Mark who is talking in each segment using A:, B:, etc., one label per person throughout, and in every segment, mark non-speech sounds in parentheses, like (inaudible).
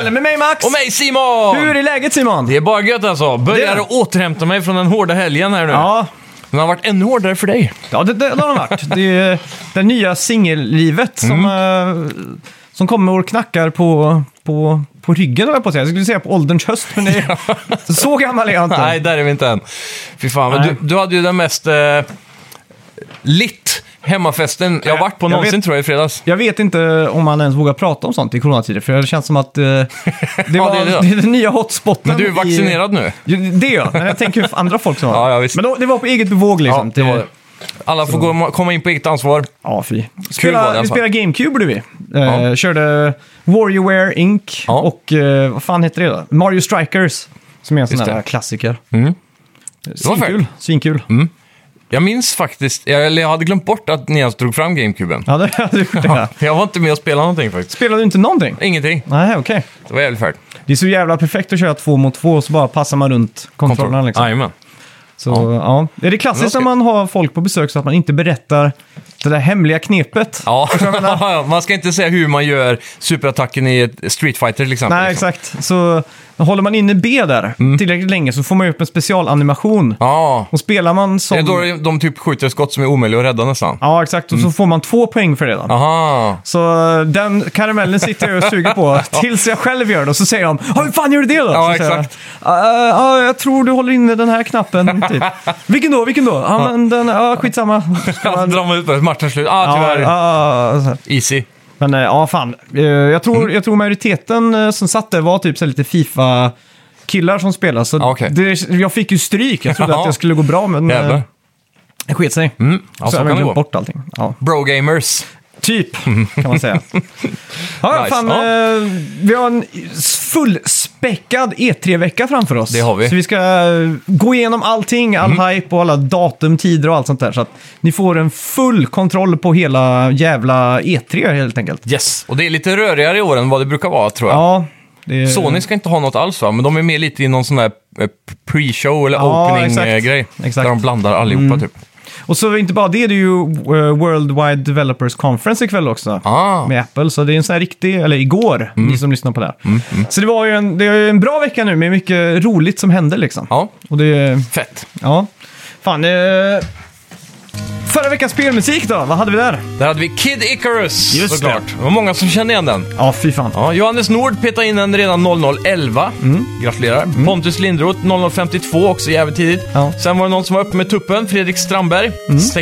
A: kväll med mig Max!
B: Och mig Simon!
A: Hur är läget Simon?
B: Det är bara gött alltså. Börjar
A: Det-
B: att återhämta mig från den hårda helgen här nu.
A: Ja,
B: Den har varit ännu hårdare för dig.
A: ja det, det, det har de varit. Det är det nya singellivet som,
B: Mm.
A: eh, som kommer och knackar på, på, på ryggen, höll jag på att säga. Jag skulle säga på ålderns höst, men det
B: (laughs)
A: är, så gammal är jag inte.
B: Nej, där är vi inte än. Fy fan, men
A: Nej.
B: du, du hade ju den mest eh, lit hemmafesten jag har varit på
A: jag
B: någonsin
A: vet.
B: tror jag i fredags.
A: Jag vet inte om man ens vågar prata om sånt i coronatider, för det känns som att
B: (laughs)
A: eh, det, var,
B: det är
A: det,
B: det.
A: är den nya hotspotten.
B: Men du är vaccinerad nu.
A: I, Jo, det är jag, men jag tänker på andra folk som
B: (laughs)
A: har
B: Ja, ja,
A: det.
B: visst.
A: Men då, det var på eget bevåg liksom.
B: Ja, det var det. Alla får gå, komma in på eget ansvar.
A: Ja, fy.
B: var det i
A: Spela,
B: alla
A: vi
B: fall.
A: spelade GameCube gjorde vi. Eh,
B: Ja.
A: Körde Warriorware Inc.
B: Ja.
A: och eh, vad fan heter det då? Mario Strikers. Som är en sån
B: Just
A: här
B: det.
A: klassiker. Eh,
B: Mm. var
A: Svinkul.
B: fett. Mm.
A: Svinkul.
B: Jag minns faktiskt, jag, eller jag hade glömt bort att ni ens drog fram GameCuben.
A: Ja, det (laughs) hade du gjort det. ja.
B: (laughs) Jag var inte med och spelade någonting faktiskt.
A: Spelade du inte någonting?
B: Ingenting.
A: Nej, okej.
B: Det var jävligt färdigt.
A: Det är så jävla perfekt att köra två mot två och så bara passar man runt kontrollerna liksom.
B: Jajamän.
A: Så, ja. Är det klassiskt
B: Men
A: när
B: vad
A: man har folk på besök så att man inte berättar det där hemliga knepet?
B: (laughs) Ja, man ska inte säga hur man gör superattacken i ett Street Fighter till exempel.
A: Nej,
B: liksom. Mm.
A: exakt. Så håller man inne B där tillräckligt länge så får man ju upp en specialanimation.
B: Ja,
A: Och spelar man som...
B: det är då de typ skjuter skott som är omöjliga att rädda nästan.
A: Ja, exakt. Och
B: Mm.
A: så får man två poäng för det då.
B: Aha.
A: Så eh, den karamellen sitter jag och suger
B: (laughs)
A: på tills jag själv gör det. Och så säger de "Ja, “Hur fan gör du det då?”
B: Ja,
A: så säger
B: exakt.
A: Jag, "Eh, ja, jag tror du håller inne den här knappen.
B: (laughs)
A: Typ. Vilken då? Vilken då? Ja, men den... Ja, skitsamma.
B: Ja, (laughs) drar man ut på matchen slut. Ah,
A: Ja,
B: tyvärr.
A: ja, ja, så här.
B: Easy.
A: Men eh, ja, fan. Eh, Jag tror,
B: Mm.
A: jag tror majoriteten eh, som satt där var typ så här lite Fifa-killar som spelade. Så
B: Ja, Ah, okej.
A: det, jag fick ju stryk. Jag trodde
B: Ja.
A: att jag skulle gå bra, men eh,
B: Jävlar.
A: det sket sig.
B: Mm. Ja, så,
A: så jag
B: kan
A: har
B: det
A: glömt
B: gå.
A: bort allting. Ja.
B: Bro-gamers.
A: Typ,
B: (laughs)
A: kan man säga. ja,
B: Nice.
A: fan,
B: Ja.
A: eh, vi har en fullspäckad E3-vecka framför oss.
B: Det har vi. Mm.
A: Så vi ska eh, gå igenom allting, all hype och alla datum, tider och allt sånt där. Så att ni får en full kontroll på hela jävla E3 helt enkelt.
B: Yes. Och det är lite rörigare i år än vad det brukar vara, tror jag.
A: Ja, det är...
B: Sony ska inte ha något alls, va? Men de är med lite i någon sån där eh, pre-show eller
A: Ja, exakt.
B: opening-grej. Där
A: Exakt. Mm.
B: de blandar allihopa, typ.
A: Och så inte bara det, det är ju eh, World Wide Developers Conference ikväll också.
B: Ah. Mm.
A: Med Apple, så det är en sån här riktig, eller igår, ni som lyssnar på det här. Så det var ju en, det är ju en bra vecka nu med mycket roligt som händer liksom.
B: Ja,
A: Och det,
B: fett.
A: ja. Fan, eh, förra veckans spelmusik då, vad hade vi där?
B: Där hade vi Kid Icarus,
A: Just
B: såklart. Det. var många som kände igen den.
A: Ja, fy fan.
B: Ja, Johannes Nord petade in en redan 0011.
A: Mm.
B: Gratulerar. Pontus Lindroth 0052, också jävligt tidigt.
A: Ja. Mm.
B: Sen var det någon som var uppe med tuppen, Fredrik Strandberg,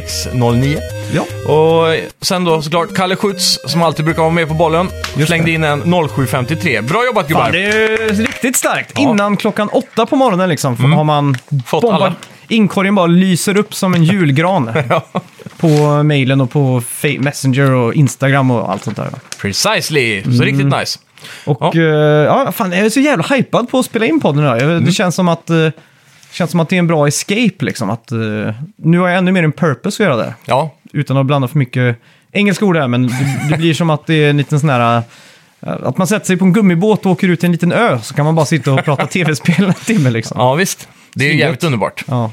B: 609.
A: Ja.
B: Och sen då såklart Kalle Schütz, som alltid brukar vara med på bollen, slängde in en 0753. Bra jobbat gubbar! (laughs)
A: Fan, det är ju riktigt starkt.
B: Ja. Mm.
A: Innan klockan åtta på morgonen liksom har man
B: Fått alla.
A: Inkorgen bara lyser upp som
B: (laughs)
A: en julgran. På mailen och på Fa- Messenger och Instagram och allt sånt där.
B: Precisely!
A: Mm.
B: Så riktigt nice. Ja.
A: Och ja. ja, fan, jag är så jävla hypad på att spela in podden idag. Jag-
B: Mm.
A: Det känns som att... eh, Känns som att det är en bra escape liksom. Att, eh, nu har jag ännu mer en purpose att göra det.
B: Ja,
A: Utan att blanda för mycket engelska ord här, men det, det blir som att det är en liten sån här... eh, Att man sätter sig på en gummibåt och åker ut till en liten ö, så kan man bara sitta och prata tv-spel en timme liksom.
B: ja visst. Det är ju
A: Svinigt.
B: jävligt underbart.
A: Ja.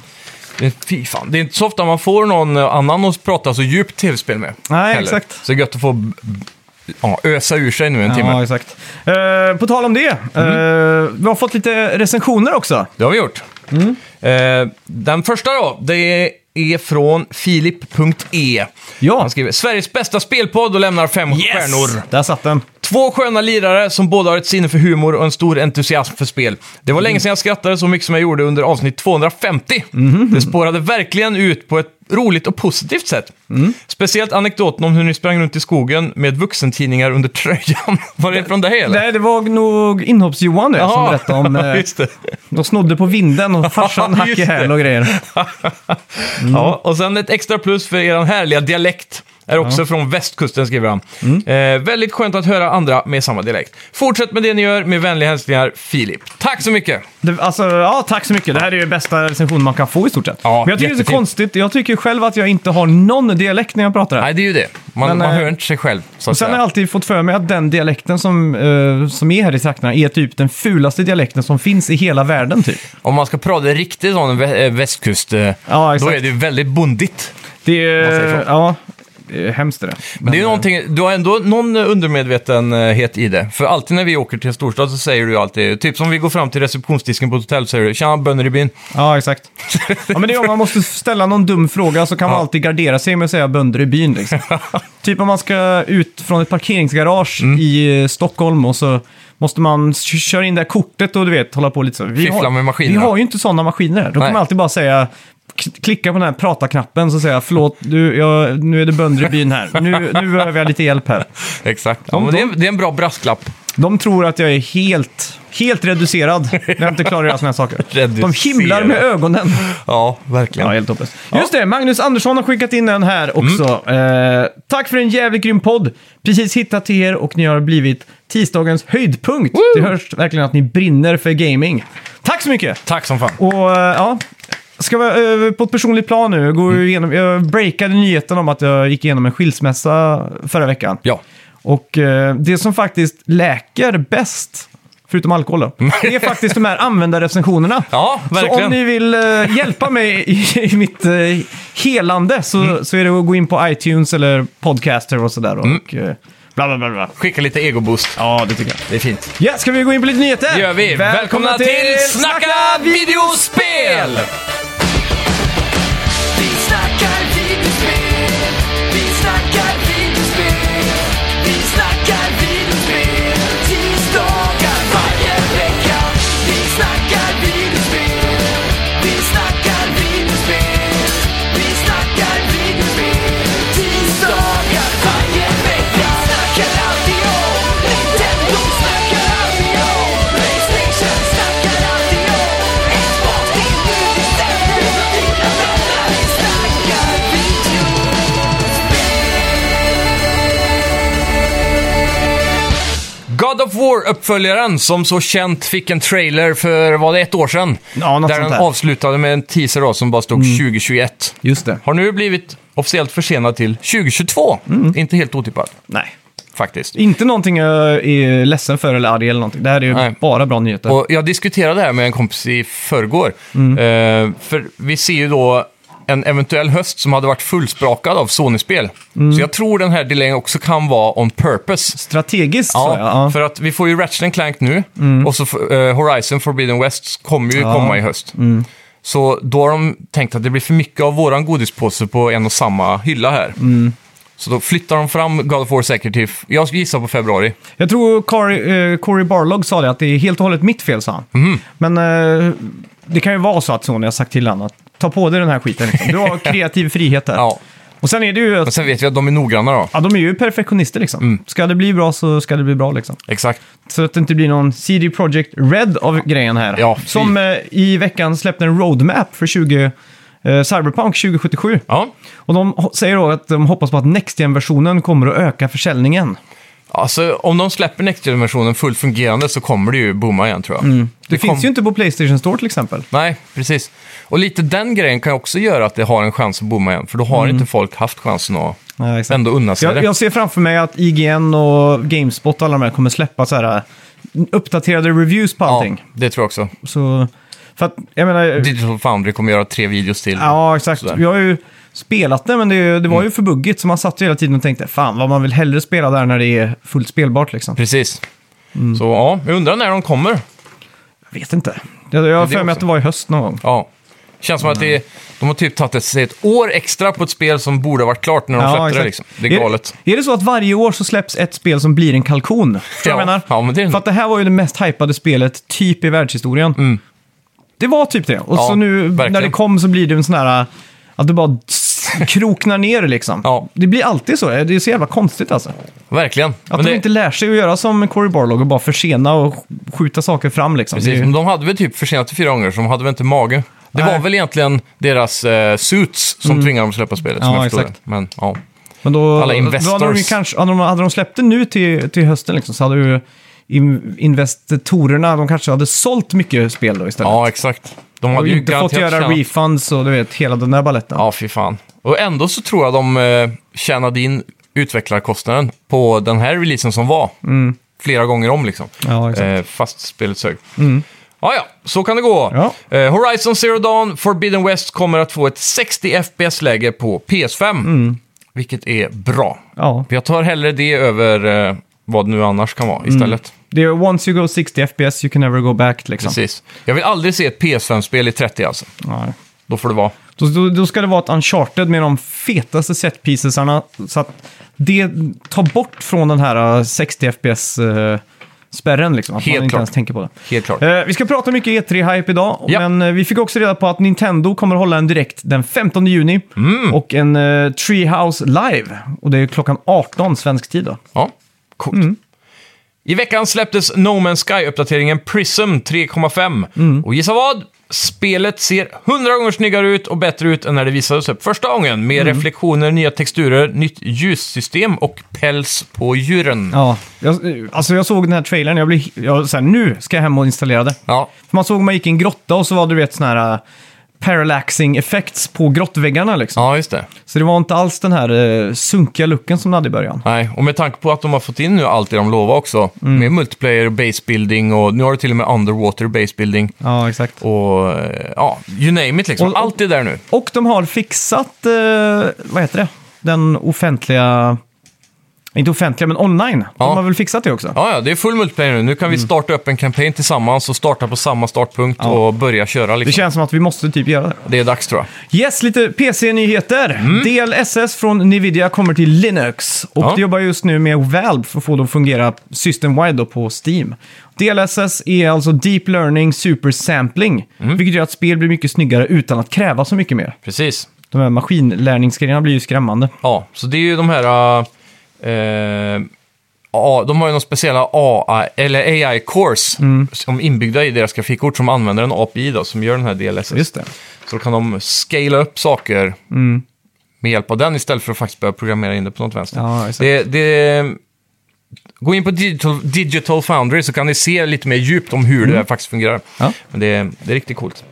B: Det- Fy fan, det är inte så ofta man får någon eh, annan att prata så djupt tv-spel med.
A: Nej, exakt.
B: Så det är gött att få b- b- ja, ösa ur sig nu en timme. Mm.
A: Ja, exakt. Eh, på tal om det, eh, vi har fått lite recensioner också.
B: Det har vi gjort.
A: Mm.
B: Eh, den första då, det är från Filip.e.
A: Ja.
B: Han skriver “Sveriges bästa spelpodd och lämnar fem stjärnor.
A: Där satt den.
B: Två sköna lirare som båda har ett sinne för humor och en stor entusiasm för spel. Det var
A: Mm.
B: länge sedan jag skrattade så mycket som jag gjorde under avsnitt 250.
A: Mm-hmm.
B: Det spårade verkligen ut på ett roligt och positivt sätt.
A: Mm.
B: Speciellt anekdoten om hur ni sprang runt i skogen med vuxentidningar under tröjan. (laughs) Var det från dig eller?
A: Nej, det var nog inhopps-Johan det, som
B: Jaha.
A: berättade
B: (laughs)
A: om...
B: Ja,
A: Eh,
B: Just det.
A: de snodde på vinden och farsan
B: (laughs) Ja,
A: hack
B: just
A: i häl och grejer. Mm.
B: Ja, och sen ett extra plus för er härliga dialekt. Är också från västkusten, skriver han. Eh, väldigt skönt att höra andra med samma dialekt. Fortsätt med det ni gör, med vänliga hälsningar, Filip. Tack så mycket!
A: Det, alltså, ja, tack så mycket. Det här är ju bästa recension man kan få i stort sett.
B: Ja,
A: Men jag tycker det är
B: jättefint.
A: så konstigt. Jag tycker ju själv att jag inte har någon dialekt när jag pratar. Här.
B: Nej, det är ju det. Man,
A: Men,
B: man
A: eh,
B: hör inte sig själv, så
A: Och
B: att
A: sen har jag
B: säga.
A: alltid fått för mig att den dialekten som, eh, som är här i trakterna är typ den fulaste dialekten som finns i hela världen typ.
B: Om man ska prata riktigt sån vä- eh, västkust, eh,
A: Ja,
B: då
A: exakt.
B: är det ju väldigt bondigt.
A: Det är,
B: säger så.
A: ja. det är hemskt det där.
B: Men det är ju någonting, du har ändå någon undermedvetenhet i det. För alltid när vi åker till en storstad så säger du ju alltid, typ som vi går fram till receptionsdisken på ett hotell så säger du “Tjena, bönder i byn”.
A: Ja, exakt. Ja, men det är om man måste ställa någon dum fråga så kan man alltid gardera sig med att säga bönder i byn.
B: (laughs)
A: Liksom. typ om man ska ut från ett parkeringsgarage
B: Mm.
A: i eh, Stockholm och så måste man k- köra in det här kortet och du vet, hålla på lite så. Vi
B: Fiffla med
A: vi
B: maskinerna.
A: har ju inte sådana maskiner. här. Då kan
B: Nej.
A: man alltid bara säga k- klicka på den här prata-knappen så säga förlåt, du, jag, nu är det bönder i byn här. Nu, nu behöver jag lite hjälp här.
B: Exakt. Ja, men det, är, det är en bra brasklapp.
A: De tror att jag är helt, helt reducerad när jag inte klarar att göra sådana här saker. De himlar med ögonen.
B: Ja, verkligen.
A: Ja, helt hopplöst. Just det, Magnus Andersson har skickat in en här också. Eh, tack för en jävligt grym podd. Precis hittat till er och ni har blivit tisdagens höjdpunkt. Det hörs verkligen att ni brinner för gaming. Tack så mycket!
B: Tack som fan.
A: Och eh, ja, ska vi över på ett personligt plan nu. Jag, går ju igenom, jag breakade nyheten om att jag gick igenom en skilsmässa förra veckan.
B: Ja.
A: Och eh, det som faktiskt läker bäst, förutom alkohol då, det är faktiskt de här användarrecensionerna.
B: (laughs) Ja,
A: Så om
B: verkligen.
A: ni vill eh, hjälpa mig i, i mitt eh, helande så,
B: Mm.
A: så är det att gå in på iTunes eller Podcaster och sådär. Och, eh, bla, bla, bla, bla.
B: Skicka lite egoboost.
A: Ja, det tycker jag.
B: Det är fint.
A: Ja, ska vi gå in på lite nyheter?
B: Det gör vi. Välkomna, till Snacka videospel!
C: Vi snackar videospel, vi snackar videospel, vi snackar videospel tisdagar varje vecka. Vi snackar videospel, vi snackar videospel, vi snackar videospel tisdagar varje vecka. Snackar alltid om Nintendo, snackar alltid om Playstation, snackar alltid om Xbox, det är nu det stämmer. Dina vänner, vi snackar videospel.
B: God of War-uppföljaren som så känt fick en trailer för, var det ett år sedan?
A: Ja, något
B: där
A: sånt
B: den
A: där. Mm.
B: avslutade med en teaser då, som bara stod 2021.
A: Just det.
B: Har nu blivit officiellt försenad till 2022.
A: Mm.
B: Inte helt otippat,
A: Nej.
B: faktiskt.
A: Inte någonting jag är ledsen för eller arg eller någonting. Det här är ju
B: Nej.
A: bara bra nyheter.
B: Och jag diskuterade det här med en kompis i förrgår. Eh, för vi ser ju då en eventuell höst som hade varit fullsprakad av Sony-spel. Så jag tror den här delayen också kan vara on purpose.
A: Strategiskt så
B: Ja,
A: ja. ja.
B: för att vi får ju Ratchet Clank nu och så eh, Horizon Forbidden West kommer ju komma i höst. Så då har de tänkt att det blir för mycket av våran godispåse på en och samma hylla här. Så då flyttar de fram God of War säkert till, jag gissar på februari.
A: Jag tror Corey, eh, Corey Barlog sa det, att det är helt och hållet mitt fel, sa han.
B: Mhm.
A: Men eh, det kan ju vara så att Sony har sagt till honom att ta på dig den här skiten. Liksom. Du
B: (laughs)
A: har kreativ frihet där.
B: Ja.
A: Och sen är det ju
B: Men
A: att
B: sen Mm. vet vi att de är noggranna då.
A: ja, de är ju perfektionister liksom. Ska det bli bra så ska det bli bra liksom.
B: Exakt.
A: Så att det inte blir någon CD Projekt Red av grejen här.
B: Ja, fy.
A: som eh, i veckan släppte en roadmap för 20, eh, Cyberpunk 2077.
B: Ja.
A: Och de ho- säger då att de hoppas på att Next Gen-versionen kommer att öka försäljningen.
B: Alltså om de släpper Next Gen-versionen fullt fungerande så kommer det ju booma igen tror jag.
A: Mm. Det, finns
B: kom-
A: ju inte på Playstation Store till exempel.
B: Nej, precis. Och lite den grejen kan också göra att det har en chans att booma igen, för då har
A: Mm.
B: inte folk haft chansen att
A: Nej, exakt.
B: ändå unna sig
A: Jag,
B: det.
A: jag ser framför mig att IGN och Gamespot och alla de här kommer släppa så här eh, uppdaterade reviews på allting.
B: Ja, det tror jag också.
A: Så, för att, jag menar...
B: Digital Foundry kommer göra tre videos till.
A: Ja, exakt.
B: Sådär. Mm.
A: Jag har ju spelat det, men det, det var ju för buggigt. Så man satt ju hela tiden och tänkte, fan vad man vill hellre spela där när det är fullt spelbart liksom.
B: Precis.
A: Mm.
B: Så ja, jag undrar när de kommer.
A: Jag vet inte. Jag, jag har för mig
B: också.
A: att det var i höst någon gång.
B: Ja. Känns som att det,
A: Mm.
B: de har typ tagit sig ett år extra på ett spel som borde ha varit klart när de släppte det.
A: exakt.
B: Liksom. Det är galet.
A: Är, är det så att varje år så släpps ett spel som blir en kalkon? Förstår du vad jag
B: Ja,
A: menar?
B: ja, men det är-
A: För att det här var ju det mest hypade spelet typ i världshistorien. Det var typ det. Och
B: Mm. Ja,
A: så nu när
B: verkligen.
A: det kom så blir det en sån här... Att det bara s- kroknar ner liksom.
B: Ja.
A: Det blir alltid så. Det är så jävla konstigt alltså.
B: Verkligen.
A: Att
B: Men
A: de
B: det-
A: inte lär sig att göra som Cory Barlog och bara försena och sk- skjuta saker fram liksom.
B: Precis,
A: Det är
B: men
A: ju-
B: de hade väl typ försenat till fyra gånger, så de hade väl inte mage. Det
A: Nej. Mm.
B: var väl egentligen deras eh, suits som tvingade dem att släppa spelet, som
A: Ja,
B: jag förstår
A: exakt.
B: det. Men ja,
A: Men då,
B: alla
A: då hade de ju
B: investors.
A: kanske, hade de, hade de släppt det nu till, till hösten liksom, så hade ju in- investorerna, de kanske hade sålt mycket spel då istället.
B: ja exakt. De hade
A: och
B: ju
A: inte fått
B: garanterat
A: göra
B: tjänat-
A: refunds och du vet, hela den där baletten.
B: Ja, fy fan. Och ändå så tror jag de eh, tjänade in utvecklarkostnaden på den här releasen som var. Flera gånger om liksom.
A: Mm. Ja, exakt. Mm.
B: Eh, fast spelet sög. Ja, ja, så kan det gå.
A: Ja.
B: Eh, Horizon Zero Dawn, Forbidden West kommer att få ett 60 FPS-läge på PS5. Vilket är bra.
A: Mm. Ja.
B: Jag tar hellre det över eh, vad nu annars kan vara istället.
A: Det är once you go 60 FPS you can never go back liksom.
B: Precis. Jag vill aldrig se ett PS5-spel i 30 alltså.
A: Nej.
B: Då får det vara.
A: Då, då, då ska det vara ett uncharted med de fetaste set piecesarna så att det tar bort från den här äh, 60 FPS eh, spärren liksom. Att
B: Helt
A: man inte
B: klart.
A: ens tänker på det.
B: Helt klart.
A: Eh, vi ska prata mycket E3-hype idag,
B: Ja.
A: men eh, vi fick också reda på att Nintendo kommer hålla en direkt den 15 juni
B: Mm.
A: och en eh, Treehouse live. Och det är klockan 18 svensk tid då.
B: Ja, coolt.
A: Mm.
B: I veckan släpptes No Man's Sky-uppdateringen Prism 3.5.
A: Mm.
B: Och gissa vad? Spelet ser hundra gånger snyggare ut och bättre ut än när det visades upp första gången. Med
A: Mm.
B: reflektioner, nya texturer, nytt ljussystem och päls på djuren. Ja.
A: Ja, jag, eh, alltså jag såg den här trailern, jag blev jag, så här, nu ska jag hem och installera det. För man såg man gick i en grotta och så var det du vet sådana här eh, parallaxing effects på grottväggarna liksom.
B: Ja, just det.
A: Så det var inte alls den här eh, sunkiga looken som det hade i början.
B: Nej, och med tanke på att de har fått in nu allt det de lovade också.
A: Mm.
B: Med multiplayer, base building och nu har du till och med underwater base building.
A: Ja, exakt.
B: Och eh, ja, you name it liksom.
A: Och- och-
B: allt är där nu.
A: Och de har fixat, eh, vad heter det, den offentliga, inte offentliga men online.
B: Ja.
A: De har väl fixat det också?
B: Ja, ja, det är full multiplayer nu. Nu kan vi starta upp en kampanj tillsammans och starta på samma startpunkt och börja köra.
A: Det
B: Liksom.
A: känns som att vi måste typ göra det.
B: Det är dags tror jag.
A: Yes, lite PC-nyheter. DLSS från Nvidia kommer till Linux. Och
B: Ja.
A: de jobbar just nu med Valve för att få det att fungera system-wide då på Steam. DLSS är alltså Deep Learning Super Sampling, vilket gör att spel blir mycket snyggare utan att kräva så mycket mer.
B: Precis.
A: De här maskinlärningsgrejerna blir ju skrämmande.
B: Ja, så det är ju de här... eh, Eh, ja, de har ju någon speciella AI, eller AI-course som inbyggda i deras grafikkort som använder en API då, som gör den här DLSS.
A: Just det.
B: Så då kan de scala upp saker
A: Mm.
B: med hjälp av den istället för att faktiskt börja programmera in det på något vänster.
A: Ja, exakt.
B: det, det, gå in på digital, digital Foundry så kan ni se lite mer djupt om hur det här faktiskt fungerar.
A: Mm. Ja. Mm.
B: Men det, det är riktigt coolt.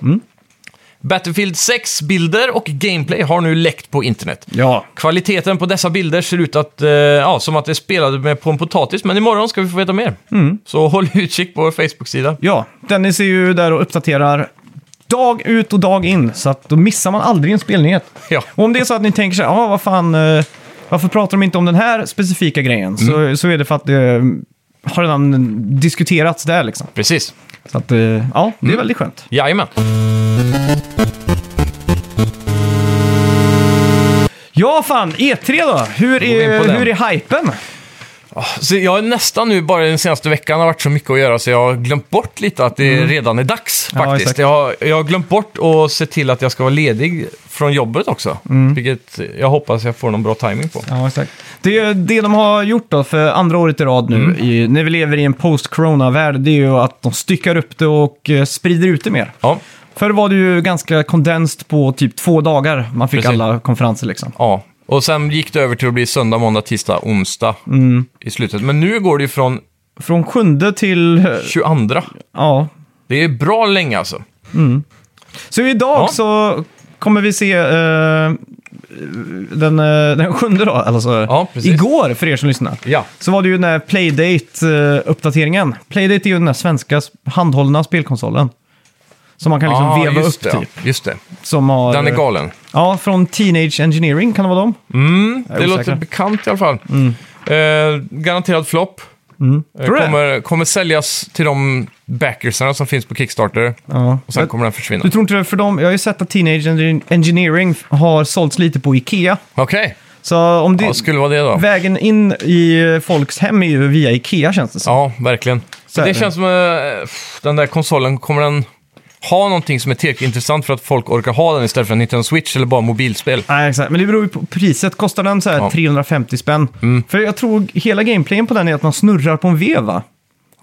B: Battlefield 6-bilder och gameplay har nu läckt på internet.
A: Ja,
B: Kvaliteten på dessa bilder ser ut att, eh, ja, som att det spelade med på en potatis, men imorgon ska vi få veta mer.
A: Mm.
B: Så håll utkik på vår Facebook-sida.
A: Ja, Dennis är ju där och uppdaterar dag ut och dag in, så att då missar man aldrig en spelnyhet.
B: Ja.
A: Och om det är så att ni tänker så här, ah, vad fan, eh, varför pratar de inte om den här specifika grejen?
B: Mm.
A: Så, så är det för att det eh, har redan diskuterats där liksom.
B: Precis.
A: Så att, eh, ja, det är
B: Mm.
A: väldigt skönt.
B: Jajamän.
A: Ja, fan, E3 då? Hur
B: in på
A: är,
B: den.
A: hur är hypen?
B: Så jag har nästan nu, bara den senaste veckan, har varit så mycket att göra så jag har glömt bort lite att det redan är dags
A: Mm. Ja,
B: faktiskt.
A: exakt.
B: jag, har, jag har glömt bort att se till att jag ska vara ledig från jobbet också.
A: Mm.
B: Vilket jag hoppas jag får någon bra timing på.
A: Ja, exakt. Det, är det de har gjort då för andra året i rad
B: Mm.
A: nu, i, när vi lever i en post-corona-värld, det är ju att de styckar upp det och eh, sprider ut det mer.
B: Ja,
A: Förr var det ju ganska kondenst på typ två dagar. Man fick
B: Precis.
A: alla konferenser liksom.
B: ja. Och sen gick det över till att bli söndag, måndag, tisdag, onsdag
A: Mm.
B: i slutet. Men nu går det ju från
A: Från sjunde till... eh,
B: 22.
A: Ja.
B: Det är bra länge alltså.
A: Så idag
B: Ja.
A: så kommer vi se eh, den, eh, den sjunde då, alltså
B: Ja, precis.
A: igår för er som lyssnar.
B: Ja.
A: Så var det ju den här Playdate-uppdateringen. Playdate är ju den här svenska handhållna spelkonsolen. Som man kan liksom
B: Ah,
A: veva upp
B: just det,
A: typ.
B: ja. Just det.
A: Som har,
B: Den är galen.
A: Ja, från Teenage Engineering kan det vara dem.
B: Mm,
A: är
B: det
A: osäker. Mm.
B: låter bekant i alla fall. Eh, garanterad flopp. Eh,
A: Tror du det?
B: kommer, kommer säljas till de backersarna som finns på Kickstarter.
A: Ja.
B: Och sen kommer den försvinna.
A: Du tror inte det? För dem, jag har ju sett att Teenage Engi- Engineering har sålts lite på Ikea.
B: Okej,
A: Så om det,
B: ja, skulle vara det då.
A: vägen in i folks hem är ju via Ikea känns det som.
B: Ja, verkligen.
A: Så är
B: det
A: det.
B: känns som eh, pff, den där konsolen, kommer den ha någonting som är tillräckligt intressant för att folk orkar ha den istället för en Nintendo Switch eller bara mobilspel?
A: Nej, exakt. Men det beror ju på priset. Kostar den så här
B: Ja. Mm.
A: 350 spänn? För jag tror hela gameplayen på den är att man snurrar på en veva.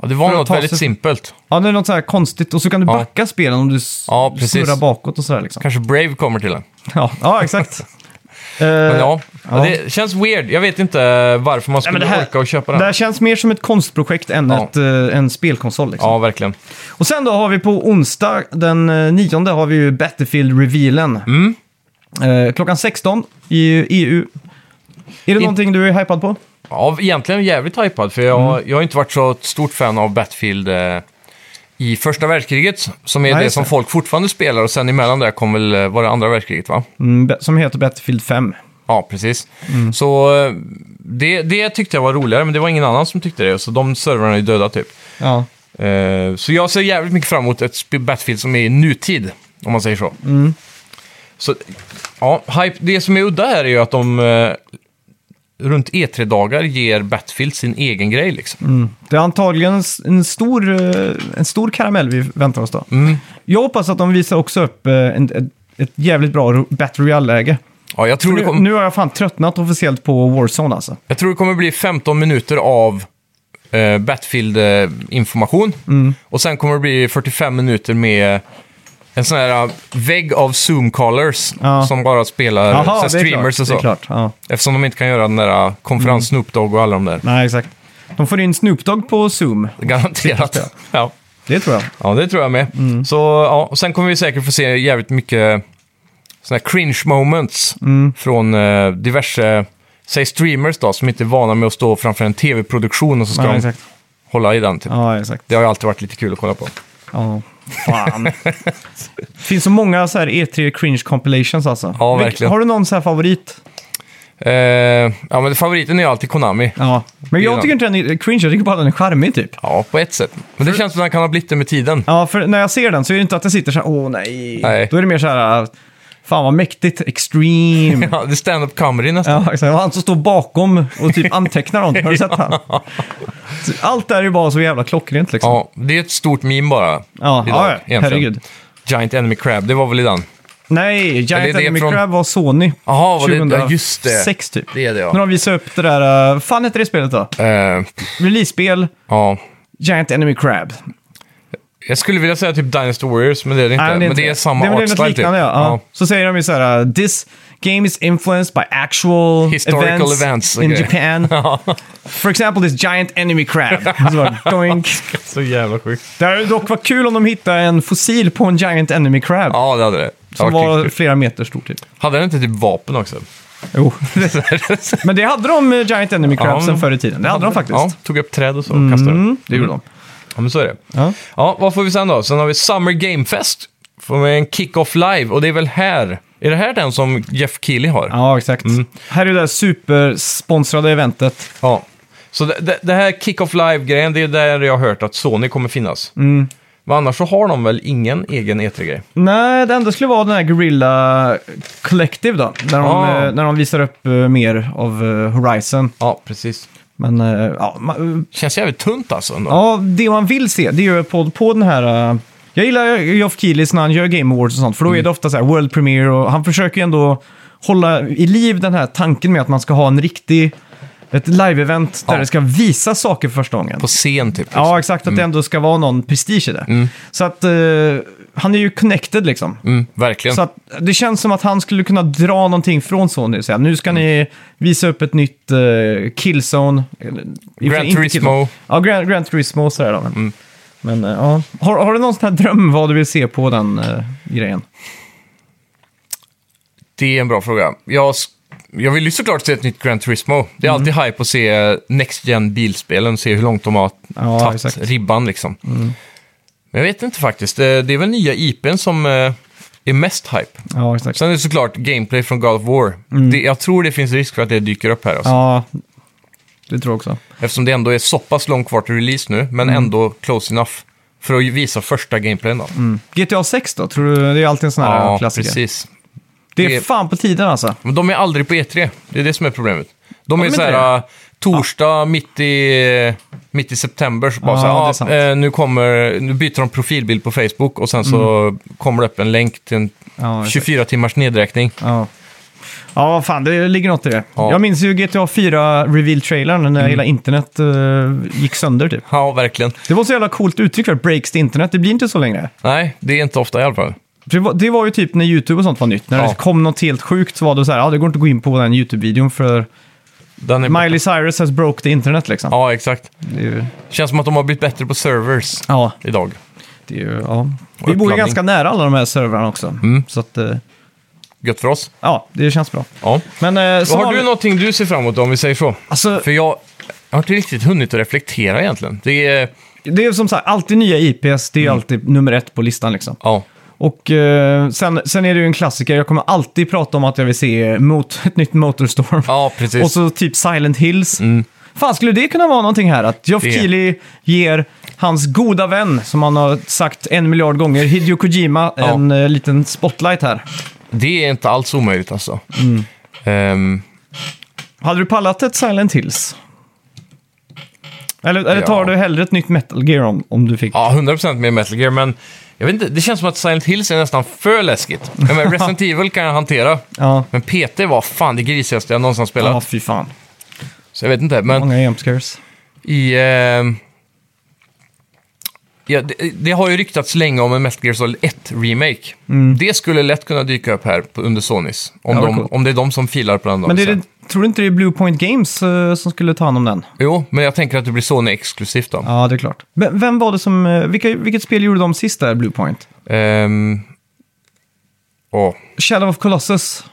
B: Ja, det var
A: För att
B: något
A: ta
B: väldigt
A: sig-
B: simpelt.
A: Ja, det är något så här konstigt. Och så kan du
B: Ja.
A: backa spelen om du s-
B: Ja, precis.
A: snurrar bakåt och sådär liksom.
B: Kanske Brave kommer till den.
A: Ja,
B: (laughs)
A: ja exakt. Eh,
B: Men ja,
A: ja.
B: det känns weird. Jag vet inte eh, varför man
A: nej,
B: skulle
A: men det här-
B: orka och köpa
A: Det
B: den.
A: här känns mer som ett konstprojekt än
B: Ja.
A: ett, eh, en spelkonsol. Liksom.
B: Ja, verkligen.
A: Och sen då har vi på onsdag den eh, 9 har vi ju Battlefield-revealen.
B: Mm.
A: Eh, klockan 16 i EU. Är det någonting du är hypad på?
B: Ja, egentligen jävligt hypad, för jag,
A: Mm.
B: jag har inte varit så ett stort fan av Battlefield eh, i första världskriget, som är
A: Nej,
B: det
A: just
B: som
A: det.
B: folk fortfarande spelar, och sen emellan där kom väl, eh, var det andra världskriget va?
A: Mm, be- som heter Battlefield 5.
B: Ja, precis.
A: Mm.
B: Så eh, det, det tyckte jag var roligare, men det var ingen annan som tyckte det. Så de servrarna är döda typ.
A: Ja.
B: Eh, så jag ser jävligt mycket fram emot ett sp- Battlefield som är i nutid, om man säger så.
A: Mm.
B: Så, ja, hype. Det som är udda här är ju att de eh, runt E3-dagar ger Battlefield sin egen grej liksom.
A: Det är antagligen s- en stor, eh, en stor karamell vi väntar oss då.
B: Mm.
A: Jag hoppas att de visar också upp eh, en, ett, ett jävligt bra ro- Battle Royale-läge.
B: Ja, jag tror, det
A: Nu,
B: kom,
A: nu har jag fan tröttnat officiellt på Warzone alltså.
B: jag tror det kommer bli 15 minuter av eh, Battlefield-information.
A: Mm.
B: Och sen kommer det bli 45 minuter med en sån här eh, vägg av Zoom-callers
A: Ja.
B: som bara spelar så här, streamers
A: klart. Det är
B: och så.
A: klart. Ja.
B: Eftersom de inte kan göra den där eh, konferens Snoop Dogg och alla de där.
A: Nej, exakt. De får in Snoop Dogg på Zoom.
B: Garanterat.
A: Det tror
B: Ja.
A: Det tror jag.
B: ja, det tror jag med.
A: Mm.
B: Så, ja, och sen kommer vi säkert få se jävligt mycket sådana här cringe moments
A: Mm.
B: från eh, diverse, säg streamers då, som inte är vana med att stå framför en tv-produktion och så ska
A: Ja,
B: de
A: exakt.
B: hålla i den. Typ.
A: Ja, exakt.
B: Det har ju alltid varit lite kul att kolla på.
A: Ja, fan. det finns så många så här E3 cringe compilations alltså.
B: Ja,
A: Vilk-
B: verkligen.
A: Har du någon så här favorit?
B: Eh, ja, men favoriten är ju alltid Konami.
A: Ja. Men
B: Ja.
A: jag tycker inte den är cringe, jag tycker bara den är charmig typ.
B: Ja, på ett sätt. Men det känns som att den kan ha blivit det med tiden.
A: Ja, för när jag ser den så är det inte att den sitter så här, åh nej.
B: Nej.
A: Då är det mer så här, fan vad mäktigt,
B: (laughs)
A: extreme.
B: Ja, det är stand-up comedy nästan.
A: ja, exakt. Och Han som står bakom och typ antecknar någonting, har du
B: (laughs)
A: sett han? Så Allt där är ju bara så jävla klockrent liksom.
B: Ja, det är ett stort meme bara.
A: Ja, ja,
B: egentligen.
A: herregud.
B: Giant Enemy Crab, det var väl i den?
A: Nej,
B: Eller
A: Giant
B: det är
A: Enemy
B: från-
A: Crab var Sony.
B: Jaha, var det- ja,
A: 2006
B: just det.
A: typ.
B: Det är det, ja.
A: När de visade upp det där, uh, fan heter det spelet då?
B: Eh,
A: Release-spel,
B: ja.
A: Giant Enemy Crab.
B: Jag skulle vilja säga typ Dynasty Warriors, men det är det inte.
A: Nej,
B: men, det är samma
A: väl något
B: artstyle typ.
A: liknande, ja. Ja. Så säger de ju så här, uh, this game is influenced by actual
B: Historical
A: events,
B: events och
A: in
B: grejer." (laughs)
A: Japan. For example this giant enemy (laughs) crab. Så bara, doink.
B: Så jävla sjukt.
A: Det hade dock varit kul om de hittade en fossil på en giant enemy crab.
B: Ja, det hade det. Det
A: Som
B: hade varit
A: var
B: kul.
A: flera meter stor typ.
B: Hade den inte typ vapen också?
A: Jo. (laughs) Men det hade de eh, Giant Enemy Crabsen
B: men-
A: förr i tiden. Det hade de faktiskt.
B: Ja, tog upp träd och så och kastade
A: Mm,
B: dem.
A: det gjorde de.
B: Ja, men så är det.
A: Ja.
B: Ja, vad får vi sen då? Sen har vi Summer Game Fest. Får vi en kick-off live och det är väl här. Är det här den som Jeff Keely har?
A: Ja, exakt. Här är det där supersponsrade eventet.
B: Ja. Så det, det, det här kick-off live-grejen, det är där jag har hört att Sony kommer finnas.
A: Mm.
B: Men annars så har de väl ingen egen E E3-grej?
A: Nej, det enda skulle vara den här Gorilla Collective då. När de,
B: Ah.
A: eh, när de visar upp eh, mer av eh, Horizon.
B: Ja, precis.
A: Men eh, ja, ma-
B: Känns jävligt tunt alltså. Ändå.
A: ja, det man vill se, det är ju på, på den här... eh, jag gillar Geoff Keighlys när han gör Game Awards och sånt, för då
B: Mm.
A: är det ofta så här World Premiere och han försöker ju ändå hålla i liv den här tanken med att man ska ha en riktig... Ett live-event där
B: Ja.
A: det ska visa saker för första gången.
B: På scen typ. liksom.
A: Ja, exakt. Att det ändå ska vara någon prestige i det. Så att eh, han är ju connected liksom.
B: Mm, verkligen.
A: Så att det känns som att han skulle kunna dra någonting från Sony och säga nu ska ni visa upp ett nytt eh, Killzone. Eller, i och för sig inte
B: Turismo. Mm.
A: Killzone. Ja, Gran, Gran Turismo och sådär då. Men, men eh, ja. Har, har du någon sån här dröm vad du vill se på den eh, grejen?
B: Det är en bra fråga. Jag, s- jag vill ju såklart se ett nytt Gran Turismo. Det
A: Mm.
B: är alltid hype att se Next Gen bilspelen, se hur långt de har
A: Ja,
B: tagit
A: exakt. Mm.
B: ribban liksom. Men jag vet inte faktiskt. Eh, Det, det är väl nya IPn som eh, är mest hype.
A: Ja, exakt.
B: Sen är det såklart gameplay från God of War. Det, jag tror det finns risk för att det dyker upp här. Alltså.
A: Mm. Ja, det tror jag också.
B: Eftersom det ändå är så pass långt kvar till release nu, men
A: Mm.
B: ändå close enough. För att visa första gameplayen då.
A: GTA 6 då? Tror du det är alltid en sån här
B: Ja,
A: Mm. klassiker?
B: precis.
A: Det
B: Det är-
A: är fan på tiden alltså.
B: Men de är aldrig på E3. Det är det som är problemet. De
A: Ja,
B: är
A: men
B: så
A: det
B: här, äh, torsdag mitt i, äh, mitt i september, så bara
A: Ja, det är
B: så
A: sant.
B: här, ah, eh, nu, kommer, nu byter de profilbild på Facebook och sen så kommer det upp en länk till en
A: Mm. Ja, exakt.
B: 24 timmars nedräkning.
A: Ja. Ja, fan, det ligger något i det.
B: Ja. Mm.
A: Jag minns ju GTA 4 reveal-trailern när hela internet eh, gick sönder typ.
B: Ja, verkligen.
A: Det var så jävla coolt uttryck för breaks till internet, det blir inte så längre.
B: Nej, det är inte ofta i alla fall.
A: För Det var, det var ju typ när YouTube och sånt var nytt. När
B: Ja.
A: det kom något helt sjukt så var det så här, ja det går inte att gå in på den YouTube-videon för
B: Den är
A: Miley Cyrus has broke the internet liksom.
B: Ja, exakt.
A: Det är ju,
B: Känns som att de har blivit bättre på servers
A: ja,
B: idag.
A: det är ju, ja. Vi bor ju
B: uppblandning.
A: ganska nära alla de här servrarna också.
B: Mm.
A: Så att, eh,
B: Gött för oss.
A: ja, det känns bra.
B: Ja.
A: Men eh, så
B: Har du någonting du ser fram emot om vi säger så?
A: Alltså,
B: För jag, jag har inte riktigt hunnit att reflektera egentligen. Det är... Mm.
A: det är ju som sagt alltid nya IPs, det är ju alltid nummer ett på listan liksom.
B: Ja.
A: Och eh, sen, sen är det ju en klassiker, jag kommer alltid prata om att jag vill se mot, ett nytt Motorstorm.
B: Ja, precis. Mm.
A: Och så typ Silent Hills. Fan, skulle det kunna vara någonting här? Att Geoff
B: Det-
A: Keighley ger hans goda vän, som han har sagt en miljard gånger, Hideo Kojima,
B: Ja.
A: en eh, liten spotlight här.
B: Det är inte alls omöjligt alltså.
A: Mm.
B: Ehm,
A: Hade du pallat ett Silent Hills? Eller, eller tar
B: Ja.
A: du hellre ett nytt Metal Gear om, om du fick?
B: ja, 100% mer Metal Gear, men jag vet inte, det känns som att Silent Hills är nästan för läskigt. Jag menar,
A: (laughs)
B: Resident Evil kan jag hantera,
A: Ja.
B: men PT var fan det grisigaste jag någonsin spelat.
A: Ja, fy fan.
B: Så jag vet inte, men...
A: Många jump scares.
B: I... ehm, ja, det, det har ju ryktats länge om en Metal Gear Solid 1-remake. Det skulle lätt kunna dyka upp här på- under Sonys. Om,
A: Mm. Ja, vad
B: de,
A: coolt.
B: om det är de som filar på den. då, liksom.
A: Men det är
B: så.
A: det, tror du inte det är Blue Point Games eh, som skulle ta hand om den?
B: Jo, men jag tänker att det blir Sony-exklusivt då.
A: Ja, det är klart. Men vem var det som... eh, Vilka, vilket spel gjorde de sist där, Blue Point?
B: Ehm, åh,
A: Shadow of Colossus.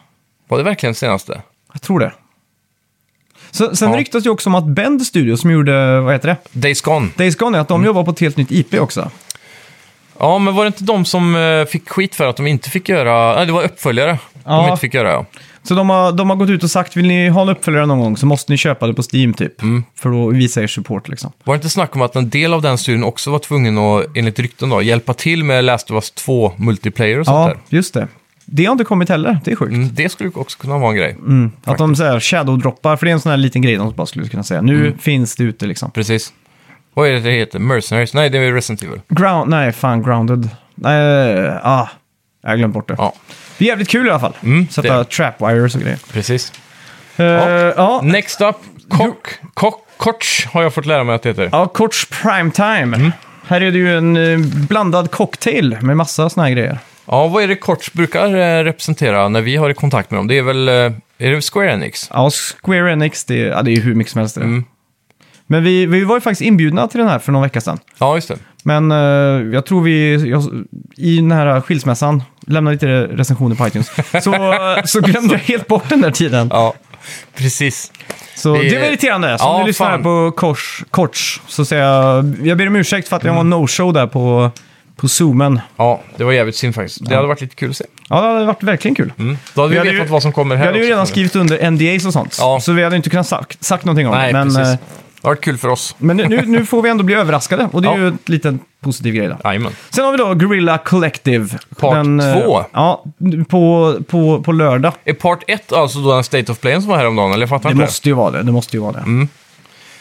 B: var det verkligen senaste?
A: Jag tror det. Så, sen
B: Ja.
A: ryktas det också om att Bend Studio som gjorde, vad heter det?
B: Days Gone.
A: Days Gone, att de
B: Mm.
A: jobbar på ett helt nytt IP också.
B: Ja, men var det inte de som eh, fick skit för att de inte fick göra... Nej, det var uppföljare
A: Ja.
B: de inte fick göra, ja.
A: Så de har, de har gått ut och sagt, vill ni ha en uppföljare någon gång så måste ni köpa det på Steam typ.
B: Mm.
A: För då visar er support liksom.
B: Var det inte snack om att en del av den studien också var tvungen att, enligt rykten då, hjälpa till med Last of Us 2 multiplayer och sånt
A: Ja,
B: där?
A: just det. Det har inte kommit heller, det är sjukt.
B: Mm, det skulle ju också kunna vara en grej.
A: Att de så här shadow-droppar, för det är en sån här liten grej de bara skulle kunna säga. Nu
B: Mm.
A: finns det ute liksom.
B: Precis. Vad är det det heter? Mercenaries? Nej, det är Resident Evil.
A: Ground, nej fan grounded. Nej, ah, jag har glömt bort det.
B: Ja,
A: Det är jävligt kul i alla fall.
B: Mm, det är
A: Sätta
B: det.
A: trapwires och grejer.
B: precis.
A: Ja, ja.
B: Next up, Kock. Kock, Koch har jag fått lära mig att det heter.
A: ja Korts prime time.
B: Mm.
A: Här är det ju en eh, blandad cocktail med massa såna här grejer.
B: Ja, vad är det Koch brukar eh, representera när vi har kontakt med dem? Det är väl... eh, Är det Square Enix?
A: Ja, Square Enix, det, ja, det är ju hur mycket som helst. Det.
B: Mm.
A: Men vi, vi var ju faktiskt inbjudna till den här för någon vecka sedan.
B: Ja, just det.
A: Men eh, jag tror vi, jag, i den här skilsmässan, lämna lite recensioner
B: (laughs)
A: på iTunes, så, eh, så glömde jag helt bort den där tiden.
B: Ja, precis.
A: Så
B: Det-
A: det, var irriterande. Så om
B: Ja,
A: du lyssnar
B: fan.
A: här på kors, korts så säger jag, jag ber om ursäkt för att jag var no-show där på, på zoomen.
B: Ja, det var jävligt synd faktiskt. Det hade varit lite kul att se.
A: Ja, det hade varit verkligen kul.
B: Då hade
A: Vi
B: Mm. vi,
A: hade
B: vetat
A: ju-
B: vad som kommer
A: Vi
B: här
A: hade ju
B: också.
A: redan skrivit under NDAs och sånt,
B: Ja.
A: så vi hade inte kunnat sagt, sagt någonting om
B: Nej,
A: det. Men,
B: precis.
A: eh,
B: Det har varit kul för oss.
A: men nu, nu får vi ändå bli överraskade och det är
B: Ja.
A: ju en liten positiv grej. Då.
B: Jajamän.
A: Sen har vi då Gorilla Collective.
B: Part
A: eh,
B: två.
A: Ja, på, på, på lördag.
B: Är part 1 alltså då den State of Playen som var häromdagen? Eller jag fattar
A: Det
B: inte
A: måste ju vara det. Det måste ju vara det.
B: Mm. det.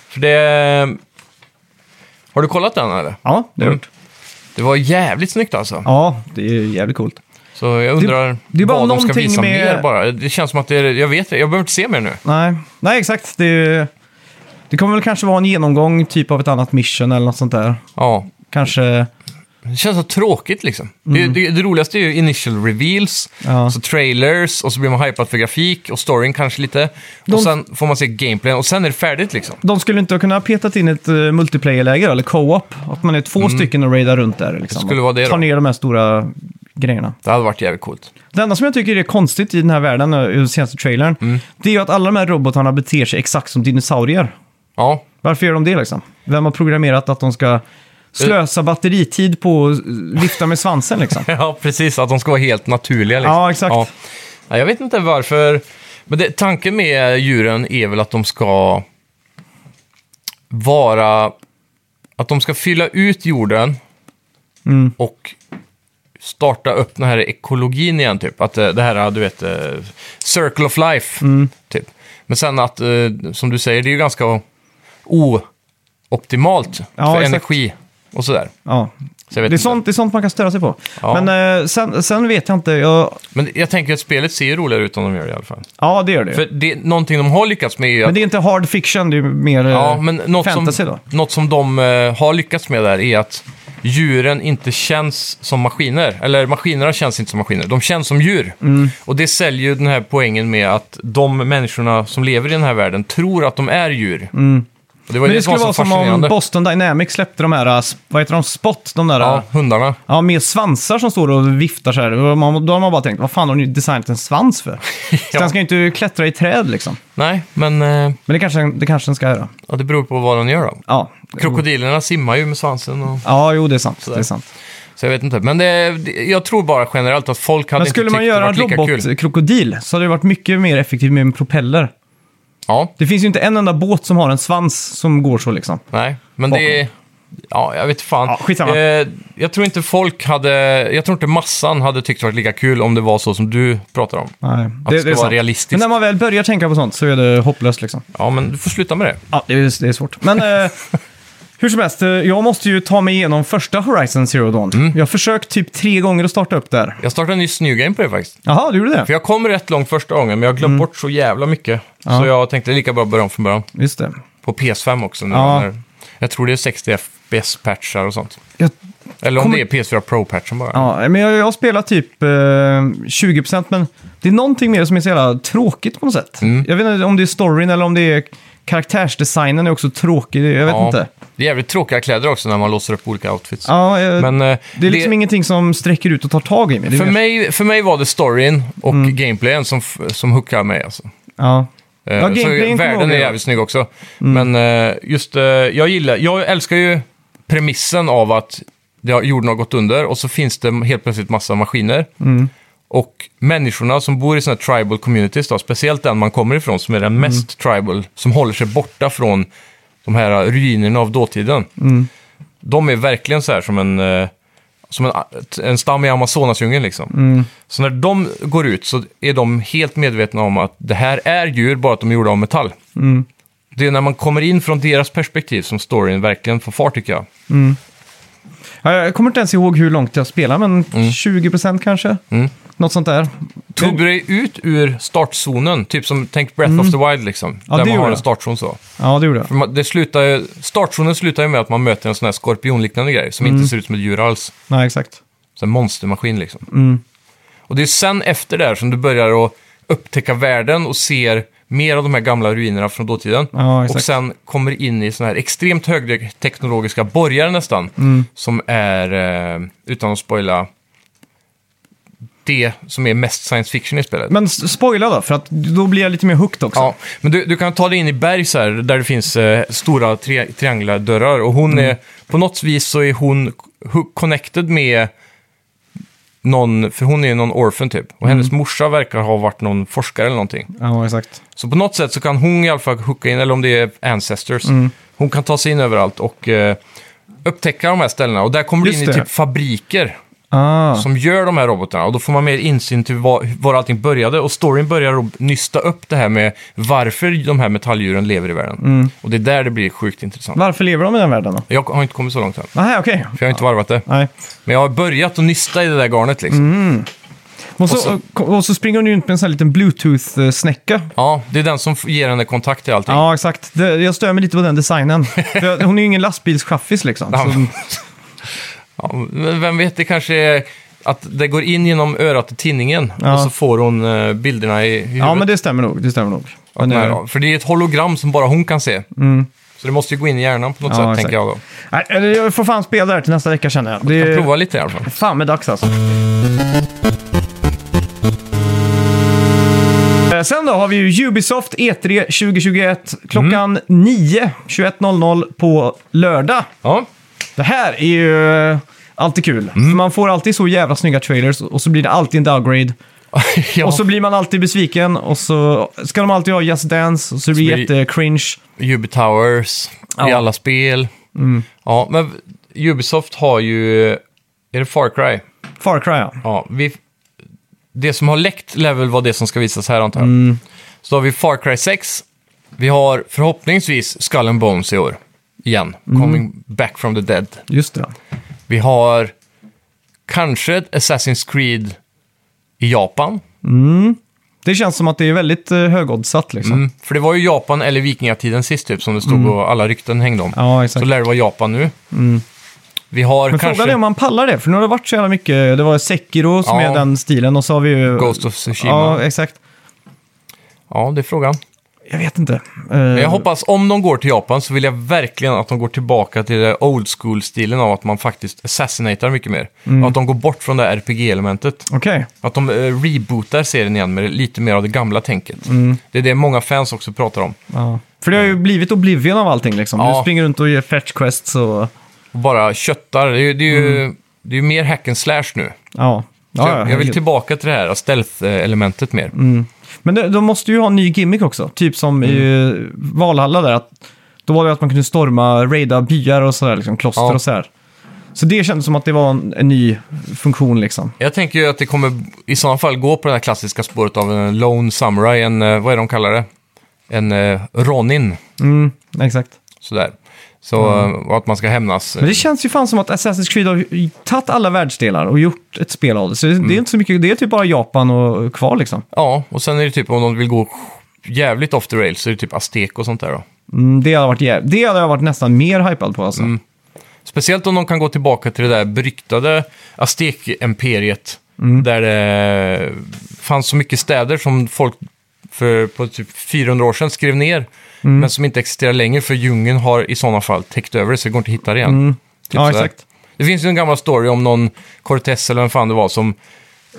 B: För det... Har du kollat den eller?
A: Ja, det är
B: Mm.
A: gjort.
B: Det var jävligt snyggt alltså.
A: Ja, det är jävligt coolt.
B: Så jag undrar
A: det är bara
B: vad de ska
A: någonting
B: visa
A: med-
B: mer bara. Det känns som att det är... Jag vet det, jag behöver inte se mer nu.
A: Nej, Nej exakt. Det, det kommer väl kanske vara en genomgång typ av ett annat mission eller något sånt där.
B: Ja.
A: Kanske...
B: Det känns så tråkigt liksom. Det, det, det roligaste är ju initial reveals,
A: Mm. Ja.
B: så trailers och så blir man hypad för grafik och storyn kanske lite.
A: De-
B: Och sen får man se gameplayen och sen är det färdigt liksom.
A: De skulle inte ha kunnat petat in ett uh, multiplayer-läger eller co-op. Att man är två stycken och raidar runt där. Liksom,
B: Det Mm. skulle
A: och
B: vara det då.
A: Tar ner de här stora grejerna.
B: Det hade varit jävligt coolt.
A: Det enda som jag tycker är konstigt i den här världen, eh, i den senaste trailern,
B: Mm.
A: det är ju att alla de här robotarna beter sig exakt som dinosaurier.
B: Ja,
A: Varför gör de det liksom? Vem har programmerat att de
B: Eh.
A: ska slösa batteritid på att eh, vifta med svansen liksom?
B: (laughs) Ja, precis. Att de ska vara helt naturliga. Liksom.
A: Ja, exakt.
B: Ja, jag vet inte varför. Men det, tanken med djuren är väl att de ska vara... Att de ska fylla ut jorden
A: Mm.
B: och starta upp den här ekologin igen, typ. Att eh, det här, du vet, eh, circle of life,
A: Mm.
B: typ. Men sen att, eh, som du säger, det är ju ganska ooptimalt
A: Ja,
B: för
A: exakt.
B: energi och sådär.
A: Ja.
B: Så jag vet
A: Det är,
B: inte.
A: sånt, det är sånt man kan störa sig på.
B: Ja.
A: Men eh, sen, sen vet jag inte. Jag,
B: Men jag tänker att spelet ser ju roligare ut om de gör det i alla fall.
A: ja, det gör det.
B: För det, någonting de har lyckats med är ju att...
A: Men det är inte hard fiction, det är mer eh,
B: ja, men något,
A: fantasy
B: som,
A: då.
B: något som de eh, har lyckats med där är att djuren inte känns som maskiner. Eller maskinerna känns inte som maskiner, de känns som djur.
A: Mm.
B: Och det säljer ju den här poängen med att de människorna som lever i den här världen tror att de är djur. Och Det var
A: Mm. Men det
B: det som
A: skulle
B: var
A: vara
B: så
A: som om
B: fascinerande.
A: Boston Dynamics släppte de här, äh, sp- vad heter de, spot, de där...
B: Ja,
A: Ja.
B: hundarna.
A: Ja, med svansar som står och viftar så här. Och man- Då har man bara tänkt, vad fan har ni designat en
B: (laughs)
A: svans för? Så Den ska ju inte klättra i träd liksom.
B: Nej, men eh,
A: Men det kanske, det kanske den ska göra.
B: ja, det beror på vad de gör då.
A: Ja.
B: Krokodilerna simmar ju med svansen och...
A: Ja, jo, det är sant. Det
B: där.
A: är sant.
B: Så jag vet inte. Men det, det- jag tror bara generellt att folk hade
A: Men
B: inte
A: skulle
B: tyckt
A: man
B: det
A: göra en
B: varit lika kul.
A: robotkrokodil så hade det varit mycket mer effektivt med en propeller.
B: Ja,
A: Det finns ju inte en enda båt som har en svans som går så liksom.
B: nej. Men det... Ja, jag vet fan.
A: Ja, skitsamma.
B: Eh, jag tror inte folk hade... Jag tror inte massan hade tyckt det varit lika kul om det var så som du pratar om.
A: Nej,
B: det ska
A: är
B: vara
A: sant.
B: realistiskt.
A: Men när man väl börjar tänka på sånt så är det hopplöst liksom.
B: Ja, men du får sluta med det.
A: Ja, det är, det är svårt. Men
B: (laughs)
A: eh, hur som helst, eh, jag måste ju ta mig igenom första Horizon Zero Dawn.
B: Mm.
A: Jag har försökt typ tre gånger att starta upp där.
B: Jag startade en ny New Game på det faktiskt.
A: Jaha, du gjorde det?
B: För jag kom rätt långt första gången, men jag har
A: Mm.
B: glömt bort så jävla mycket. Så jag tänkte lika bra börja om från början.
A: Just det.
B: På PS5 också nu.
A: Ja.
B: När, jag tror det är 60 FPS-patchar och sånt.
A: Jag,
B: Eller om
A: Kommer-
B: det är PS4 Pro-patchen bara.
A: ja, men jag, jag har spelat typ eh, 20% men det är någonting mer som är så jävla tråkigt på något sätt.
B: Mm.
A: Jag vet inte om det är storyn eller om det är karaktärsdesignen är också tråkig. Jag vet
B: Ja.
A: inte.
B: Det är jävligt tråkiga kläder också när man låser upp olika outfits.
A: Ja, eh,
B: Men, eh,
A: det är liksom ingenting som sträcker ut och tar tag i mig. Det är
B: för,
A: mer-
B: mig, för mig var det storyn och
A: Mm.
B: gameplayen som, f- som hookar mig. Alltså.
A: Ja.
B: Eh,
A: Ja,
B: så
A: gameplayen kommer jag
B: världen
A: ihåg, Mm.
B: är
A: ja.
B: jävligt snygg också. Men eh, just, eh, jag gillar, jag älskar ju premissen av att det har- jorden har gått under och så finns det helt plötsligt massa maskiner.
A: Mm.
B: Och människorna som bor i sådana här tribal communities, då, speciellt den man kommer ifrån som är
A: Mm.
B: den mest tribal, som håller sig borta från de här eh, ruinerna av dåtiden. De är verkligen så här som en, eh, som en, en stam i Amazonasdjungeln liksom.
A: Mm.
B: Så när de går ut så är de helt medvetna om att det här är djur, bara att de är gjorda av metall.
A: Mm.
B: Det är när man kommer in från deras perspektiv som storyn verkligen får fart tycker jag.
A: Ja, jag kommer inte ens ihåg hur långt jag spelar, men 20% kanske? Något sånt där.
B: Mm. Tog du dig ut ur startzonen, typ som tänk Breath of the Wild liksom.
A: Mm. Ja,
B: där man
A: det
B: har
A: gjorde
B: en
A: jag.
B: startzon så.
A: Ja, det gjorde jag.
B: För man- Det slutar, ju- startzonen slutar ju med att man möter en sån här skorpionliknande grej som
A: Mm.
B: inte ser ut som ett djur alls.
A: Nej, exakt.
B: Så en monstermaskin liksom.
A: Mm.
B: Och det är sen efter det här som du börjar att upptäcka världen och ser mer av de här gamla ruinerna från dåtiden.
A: Ja, exakt.
B: och sen kommer in i såna här extremt högteknologiska borgar nästan.
A: Mm.
B: Som är, eh, utan att spoila, det som är mest science fiction i spelet.
A: Men s- spoila då, för att då blir jag lite mer hooked också.
B: Ja, men du, du kan ta dig in i berg så här, där det finns eh, stora tri trianglardörrar. Och hon
A: Mm.
B: är, på något vis så är hon ho- connected med någon, för hon är någon orphan typ. Och hennes
A: Mm.
B: morsa verkar ha varit någon forskare eller någonting.
A: Ja, exakt.
B: Så på något sätt så kan hon i alla fall hooka in, eller om det är Ancestors.
A: Mm.
B: Hon kan ta sig in överallt och eh, upptäcka de här ställena. Och där kommer du
A: Just
B: in i
A: det.
B: typ fabriker
A: Ah,
B: som gör de här robotarna. Och då får man mer insyn till var, var allting började. Och storyn börjar då nysta upp det här med varför de här metalldjuren lever i världen.
A: Mm.
B: Och det är där det blir sjukt intressant.
A: varför lever de i den världen då?
B: Jag har inte kommit så långt än,
A: Nej, okej.
B: för jag har inte varvat det.
A: Nej.
B: Men jag har börjat att nysta i det där garnet liksom.
A: Mm. Och så,
B: Och
A: och så, springer hon ju runt med en sån här liten bluetooth-snäcka.
B: Ja, det är den som f- ger henne kontakt till allting.
A: Ja, exakt. Det, jag stör mig lite på den
B: (laughs)
A: designen. För hon är ju ingen lastbilschaffis liksom.
B: Ja,
A: Så,
B: men- (laughs) Ja, men vem vet, det kanske är att det går in genom örat till tinningen
A: Ja.
B: och så får hon eh, bilderna i, i huvudet.
A: ja, men det stämmer nog. Det stämmer nog. Men,
B: Nej,
A: eh,
B: ja, för det är ett hologram som bara hon kan se. Så det måste ju gå in i hjärnan på något
A: Mm. Ja,
B: sätt,
A: exakt.
B: tänker jag då.
A: nej, eller jag får fan spela det här till nästa vecka känner jag. Det
B: Jag
A: är
B: provar lite i alla fall.
A: fan med dags alltså. Eh, Sen då har vi ju Ubisoft E3 2021
B: Mm.
A: klockan 9, 21.00 på lördag.
B: Ja, (laughs)
A: Det här är ju eh, alltid kul.
B: Mm.
A: För man får alltid så jävla snygga trailers och så blir det alltid en downgrade.
B: ja.
A: Och så blir man alltid besviken och så ska de alltid ha Just Dance och så blir det
B: blir-
A: jättecringe.
B: Ubi Towers i
A: Ja. Mm.
B: alla spel. Ja, men Ubisoft har ju... Är det Far Cry?
A: Far Cry ja.
B: Ja, vi, det som har läckt level var det som ska visas här antar jag.
A: Mm.
B: Så har vi Far Cry 6. Vi har förhoppningsvis Skull and Bones i år. Igen.
A: Mm.
B: Coming back from the dead.
A: Just det.
B: Vi har kanske ett Assassin's Creed i Japan.
A: Det känns som att det är väldigt eh, högoddsat liksom.
B: Mm. För det var ju Japan eller vikingatiden sist typ, som det
A: Mm.
B: stod och alla rykten hängde om.
A: Ja,
B: Så
A: exakt.
B: lär det vara Japan nu. Vi har
A: Mm. Men
B: kanske
A: frågan är om man pallar det, för nu har det varit så jävla mycket. Det var Sekiro som
B: Ja.
A: är den stilen och så har vi ju...
B: Ghost of Tsushima. Ja.
A: Ja, exakt.
B: det är frågan.
A: Jag vet inte. Eh,
B: Men jag hoppas, om de går till Japan så vill jag verkligen att de går tillbaka till det old school-stilen av att man faktiskt assassinatar mycket mer.
A: Mm.
B: Och att de går bort från det här RPG-elementet.
A: Okej.
B: Att de eh, rebootar serien igen med lite mer av det gamla tänket.
A: Mm.
B: Det är det många fans också pratar om.
A: Ja. För det har ju blivit Oblivion av allting liksom.
B: Ja.
A: Du springer runt och gör fetch quests och...
B: Och bara köttar. Det är, ju- det är ju det är ju mer hack and slash nu.
A: Ja.
B: Så
A: Mm. ja, ja,
B: jag, jag vill
A: herregud.
B: tillbaka till det här stealth-elementet mer.
A: Men de, de måste ju ha en ny gimmick också. Typ som
B: Mm.
A: i Valhalla där. Att, då var det att man kunde storma, raida byar och sådär, liksom, kloster
B: Ja.
A: och sådär. Så det kändes som att det var en, en ny funktion liksom.
B: Jag tänker ju att det kommer i sådana fall gå på det här klassiska spåret av en lone samurai, en, eh, vad är de kallar det? En eh, ronin,
A: Mm, exakt.
B: sådär. Så eh, och att man ska hämnas.
A: Mm. Men det känns ju fan som att Assassin's Creed har ju tagit alla världsdelar och gjort ett spel av det. Så det,
B: Mm.
A: det är inte så mycket, det är typ bara Japan och kvar liksom.
B: Ja, och sen är det typ om de vill gå jävligt off the rails så är det typ aztek och sånt där då.
A: Mm, det, hade varit, jä- det hade jag varit nästan mer hypad på alltså.
B: Mm, Speciellt om de kan gå tillbaka till det där beryktade Aztek-imperiet.
A: Mm.
B: Där det fanns så mycket städer som folk för på typ 400 år sedan skrev ner.
A: Mm.
B: Men som inte existerar längre för djungeln har i sådana fall täckt över det så det går inte att hitta det igen. Typ
A: Mm. Ja,
B: sådär.
A: exakt.
B: Det finns ju en gammal story om någon Cortez eller vem fan det var som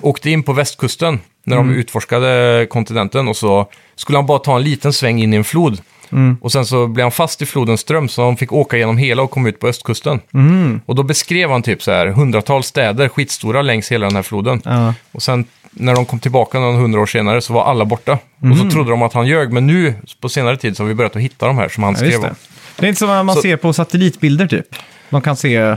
B: åkte in på västkusten när
A: Mm.
B: de utforskade kontinenten och så skulle han bara ta en liten sväng in i en flod.
A: Mm.
B: Och sen så blev han fast i flodens ström så han fick åka genom hela och kom ut på östkusten.
A: Mm.
B: Och då beskrev han typ så här hundratals städer, skitstora längs hela den här floden.
A: Ja.
B: Och sen när de kom tillbaka någon hundra år senare så var alla borta. Och
A: Mm.
B: så trodde de att han ljög, men nu på senare tid så har vi börjat att hitta de här som han
A: Ja,
B: skrev
A: just
B: om.
A: det. det är inte som när man
B: Så- Mm.
A: ser på satellitbilder typ. Man kan se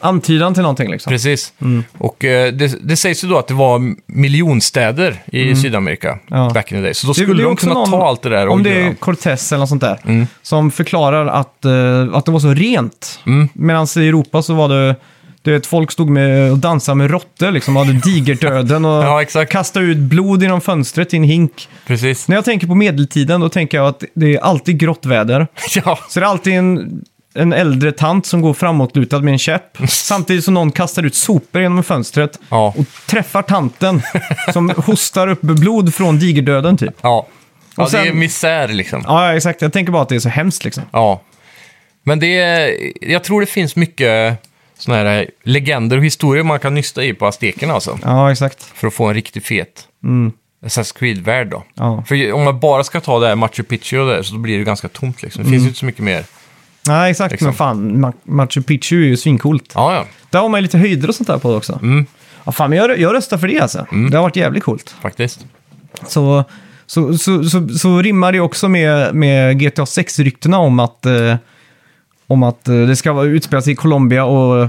A: antydan till någonting liksom.
B: Precis. Och eh, det, det sägs ju då att det var miljonstäder i Sydamerika
A: Mm. Ja.
B: back in the day. Så då
A: Det-
B: skulle
A: det är
B: de
A: också
B: kunna
A: någon-
B: ta allt det där och
A: Om det
B: göra-
A: är Cortez eller något sånt där.
B: Mm.
A: Som förklarar att, eh, att det var så rent.
B: Mm.
A: Medan i Europa så var det... Du vet, folk stod med och dansade med råttor liksom. och Hade digerdöden
B: (laughs)
A: och
B: Ja, exakt.
A: kastade ut blod genom fönstret i en hink.
B: Precis.
A: När jag tänker på medeltiden då tänker jag att det är alltid grått väder.
B: (laughs) ja.
A: Så det är alltid en, en äldre tant som går framåtlutad med
B: (laughs)
A: en käpp. Samtidigt som någon kastar ut sopor genom fönstret.
B: Ja.
A: Och
B: (laughs)
A: träffar tanten som hostar upp blod från digerdöden typ.
B: Ja. ja
A: Och sen-
B: det är misär liksom. Ja.
A: Ja, ja, exakt. Jag tänker bara att det är så hemskt liksom.
B: Men det är, jag tror det finns mycket sådana här legender och historier man kan nysta i på aztekerna alltså.
A: Ja, exakt.
B: För att få en riktigt fet Assassin's Creed-värld då.
A: Ja.
B: För om man bara ska ta det här Machu Picchu och det här, så blir det ganska tomt liksom. Det
A: Mm.
B: finns ju inte så mycket mer.
A: Nej, exakt.
B: Exakt.
A: Men fan, Ma- Machu Picchu är ju svincoolt.
B: Ja, ja.
A: Där har man ju lite höjder och sånt där på också. Mm. Ja, fan, men jag, jag röstar för det alltså.
B: Mm.
A: Det har varit jävligt coolt.
B: Faktiskt.
A: Så, så, så, så, så rimmar det också med, med GTA 6-ryktena om att, eh, om att eh, det ska vara- utspela sig i Colombia och,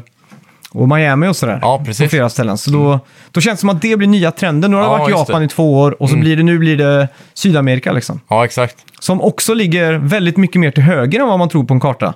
A: och Miami och sådär.
B: Ja, precis.
A: På flera ställen. Så då, då känns det som att det blir nya trenden. Nu har det
B: Ja,
A: varit
B: just det. Mm.
A: Japan i två år och så blir det, nu blir det Sydamerika liksom.
B: Ja, exakt.
A: Som också ligger väldigt mycket mer till höger än vad man tror på en karta.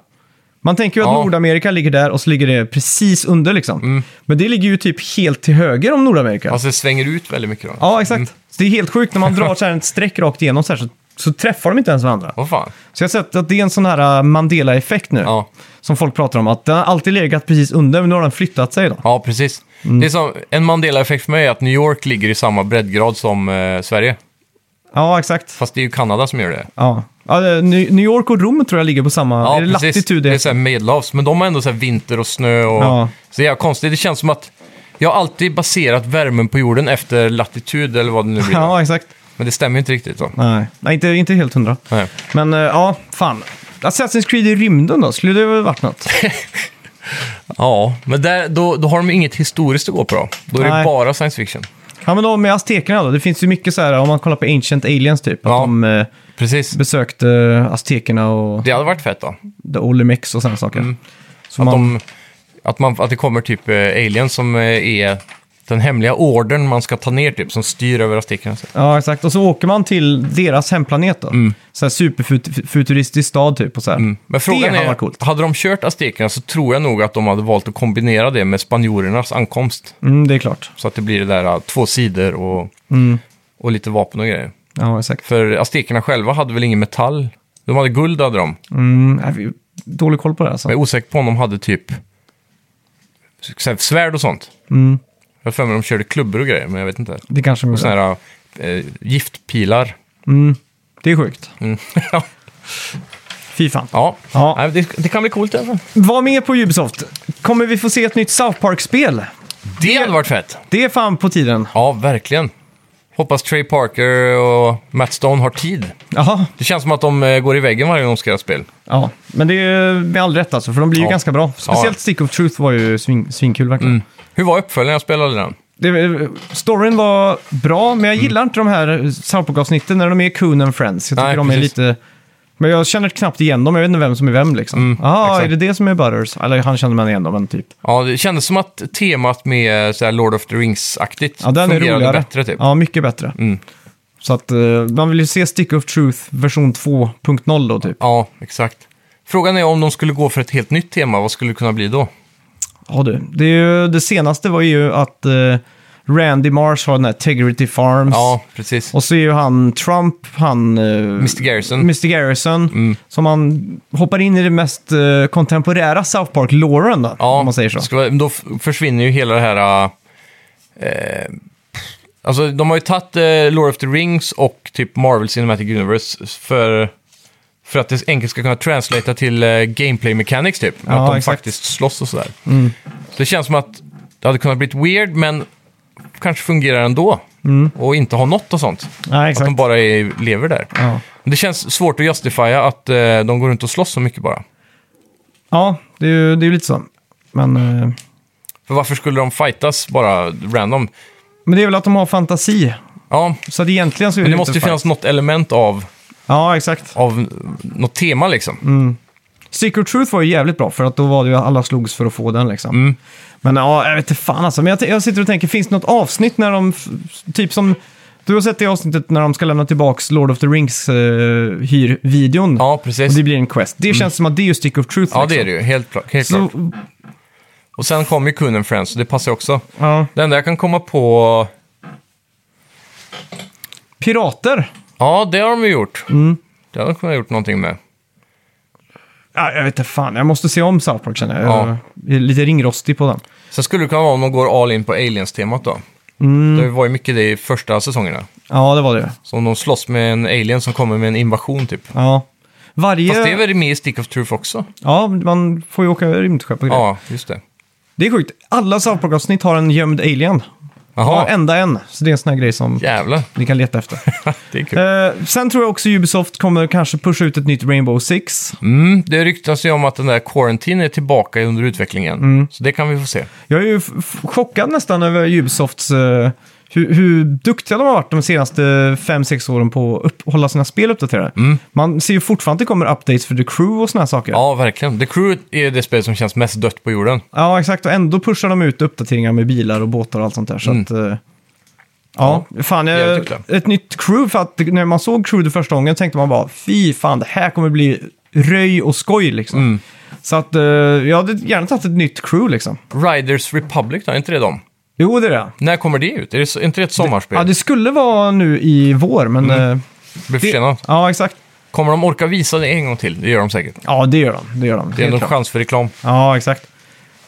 A: Man tänker ju att
B: Ja. Mm.
A: Nordamerika ligger där och så ligger det precis under liksom. Men det ligger ju typ helt till höger om Nordamerika.
B: Alltså det svänger ut väldigt mycket då.
A: Ja, exakt. Så det är helt sjukt när
B: (laughs)
A: man drar så här ett streck rakt igenom så, här, så, så träffar de inte ens varandra.
B: Vad fan.
A: Så jag har sett att det är en sån här äh, Mandela-effekt nu.
B: Ja.
A: Som folk pratar om, att den har alltid legat precis under, men nu har den flyttat sig då.
B: Ja, precis. Det är som, Mm. en Mandela-effekt för mig är att New York ligger i samma breddgrad som eh, Sverige.
A: Ja, exakt.
B: Fast det är ju Kanada som gör det.
A: Ja. Ja, det- Ny- New York och Rom tror jag ligger på samma...
B: Ja,
A: är det
B: precis.
A: latitud?
B: Det är så här medelhavs, men de har ändå så här vinter och snö och...
A: Ja.
B: Så det är konstigt. Det känns som att jag har alltid baserat värmen på jorden efter latitud eller vad det nu blir.
A: Ja, exakt.
B: Men det stämmer ju inte riktigt så.
A: Nej, Nej inte, inte helt hundra.
B: Nej.
A: Men äh, ja, fan. Assassin's Creed i rymden då, skulle det väl varit något?
B: Ja, men där, då, då har de ju inget historiskt att gå på då. Då är
A: Nej.
B: det bara science fiction.
A: Ja, men då med aztekerna då. Det finns ju mycket så här, om man kollar på Ancient Aliens typ, att
B: Ja.
A: de äh,
B: Precis.
A: besökte äh, aztekerna och...
B: Det hade varit fett då.
A: The Olimex och sådana saker. Så
B: Mm. Att,
A: man,
B: de, att, man, att det kommer typ eh, aliens som eh, är den hemliga orden man ska ta ner typ, som styr över aztekerna. så.
A: Ja, exakt. Och så åker man till deras hemplanet då. Så här superfuturistisk stad typ. Och så här.
B: Mm. Men frågan
A: det hade
B: är,
A: varit coolt.
B: hade de kört aztekerna så tror jag nog att de hade valt att kombinera det med spanjorernas ankomst.
A: Mm, det är klart.
B: Så att det blir det där eh, två sidor och,
A: Mm.
B: och lite vapen och grejer.
A: Ja, exakt.
B: För aztekerna själva hade väl ingen metall? De hade guld, hade de.
A: Mm, nej, vi- dålig koll på det alltså.
B: Men jag är osäker på om de hade typ så här svärd och sånt.
A: Mm,
B: Jag har för mig de körde klubbor och grejer, men jag vet inte.
A: det kanske man
B: Sådana här eh, giftpilar.
A: mm. Det är sjukt.
B: (laughs)
A: Fy fan.
B: Ja,
A: Ja.
B: Nej, det, det kan bli coolt i alla fall.
A: Var med på Ubisoft. Kommer vi få se ett nytt South Park-spel?
B: Det hade varit fett.
A: Det är fan på tiden.
B: Ja, verkligen. Hoppas Trey Parker och Matt Stone har tid.
A: Jaha.
B: Det känns som att de eh, går i väggen varje gång de ska göra spel.
A: Ja, men det är med all rätt alltså, för de blir ju
B: Ja. Mm.
A: ganska bra. Speciellt
B: Ja.
A: Stick of Truth var ju svin, svinkul verkligen.
B: Hur var uppföljaren? Jag spelade den.
A: Det, storyn var bra, men jag
B: Mm.
A: gillar inte de här Southpark-avsnitten när de är Coon and Friends. Jag tycker
B: Nej,
A: de är
B: precis.
A: lite... Men jag känner knappt igen dem, jag vet inte vem som är vem liksom. ah,
B: Mm, exakt.
A: är det det som är Butters? Eller han känner man igen dem, men typ.
B: Ja, det kändes som att temat med eh, så här Lord of the Rings-aktigt
A: Ja, den är
B: fungerade
A: roligare.
B: bättre. Typ.
A: Ja, mycket bättre. Så att eh, man vill ju se Stick of Truth version 2.0 då typ.
B: Ja, exakt. Frågan är om de skulle gå för ett helt nytt tema, vad skulle det kunna bli då?
A: Ja du, det, är ju, det senaste var ju att eh, Randy Marsh har den här Integrity Farms.
B: Ja, precis.
A: Och så är ju han Trump, han... eh,
B: Mr Garrison.
A: Mr Garrison.
B: Mm.
A: Som han hoppar in i det mest eh, kontemporära South Park-loren då,
B: ja,
A: om man säger så.
B: ska vara- då f- försvinner ju hela det här... Eh, alltså, de har ju tagit eh, Lord of the Rings och typ Marvel Cinematic Universe för, för att det enkelt ska kunna translata till eh, gameplay mechanics typ. att de
A: exakt. Mm.
B: faktiskt slåss och sådär. Det känns som att det hade kunnat blivit weird, men kanske fungerar ändå. Och inte ha något och sånt.
A: Nej,
B: Att de
A: Mm. exakt.
B: bara är, lever där.
A: Ja.
B: Men Det känns svårt att justifiera att eh, de går runt och slåss så mycket bara.
A: Ja, det är ju det är ju lite så. Men, eh,
B: För varför skulle de fightas bara random?
A: men det är väl att de har fantasi.
B: Ja,
A: Så att egentligen så är
B: men det
A: lite
B: måste ju
A: fight.
B: finnas något element av,
A: Ja, exakt.
B: av något tema liksom.
A: Mm. Secret Truth var ju jävligt bra för att då var det ju alla slogs för att få den liksom.
B: Mm.
A: Men ja, jag vet inte fan alltså. Men jag, t- jag sitter och tänker, finns det något avsnitt när de, f- typ som, du har sett det avsnittet när de ska lämna tillbaks Lord of the Rings eh, hyrvideon.
B: Ja,
A: Och
B: precis.
A: det blir en quest. Det känns som att det är ju Stick of Truth.
B: Ja,
A: liksom.
B: det är det ju. Helt, klart- helt klart.
A: Så,
B: Och sen kom ju Kun and Friends, så det passar ju också.
A: ja.
B: Det enda jag kan komma på...
A: Pirater?
B: Ja, det har de ju gjort.
A: Mm.
B: Det hade de kunnat gjort någonting med.
A: Ja, jag vet inte fan, jag måste se om South Park känner jag.
B: Ja.
A: jag är lite ringrostig på den.
B: Sen skulle det kunna vara om de går all in på aliens-temat då.
A: Mm.
B: Det var ju mycket det i första säsongerna.
A: Ja, det var det.
B: Så om de slåss med en alien som kommer med en invasion typ.
A: Ja. Varje...
B: Fast det är väl med i Stick of Truth också?
A: Ja, man får ju åka rymdskepp och grejer.
B: Ja, just det.
A: Det är sjukt. Alla South Park-avsnitt har en gömd alien.
B: Jaha,
A: Varenda en. Så det är en sån här grej som
B: jävlar. (laughs)
A: ni kan leta efter.
B: Det är kul.
A: Eh, sen tror jag också Ubisoft kommer kanske pusha ut ett nytt Rainbow Six.
B: Mm, det ryktas ju om att den där Quarantine är tillbaka under utvecklingen.
A: Mm.
B: Så det kan vi få se.
A: Jag är ju f- f- chockad nästan över Ubisofts... eh, hur, hur duktiga de har varit de senaste fem sex åren på att upp, hålla sina spel uppdaterade. Man ser ju fortfarande att det kommer updates för The Crew och såna här saker.
B: Mm. Ja, verkligen. The Crew är det spel som känns mest dött på jorden.
A: Ja, exakt. Och ändå pushar de ut uppdateringar med bilar och båtar och allt sånt där. Så
B: Mm.
A: att, eh, ja, fan. eh,
B: jävligt duktiga.
A: ett nytt crew, för att när man såg crew det första gången tänkte man bara fy fan, det här kommer bli röj och skoj liksom.
B: Mm.
A: Så att eh, jag hade gärna tagit ett nytt crew liksom.
B: Riders Republic då, är inte det dem?
A: Jo, det är det.
B: När kommer det ut? Är det så, är inte det ett sommarspel?
A: Ja,
B: det
A: det skulle vara nu i vår, men...
B: Mm.
A: eh,
B: blir
A: det-
B: försenat.
A: Ja, exakt.
B: Kommer de orka visa det en gång till? Det gör de säkert.
A: Ja, det gör de. Det gör de.
B: Det är
A: Helt
B: ändå en
A: klart.
B: chans för reklam.
A: Ja, exakt.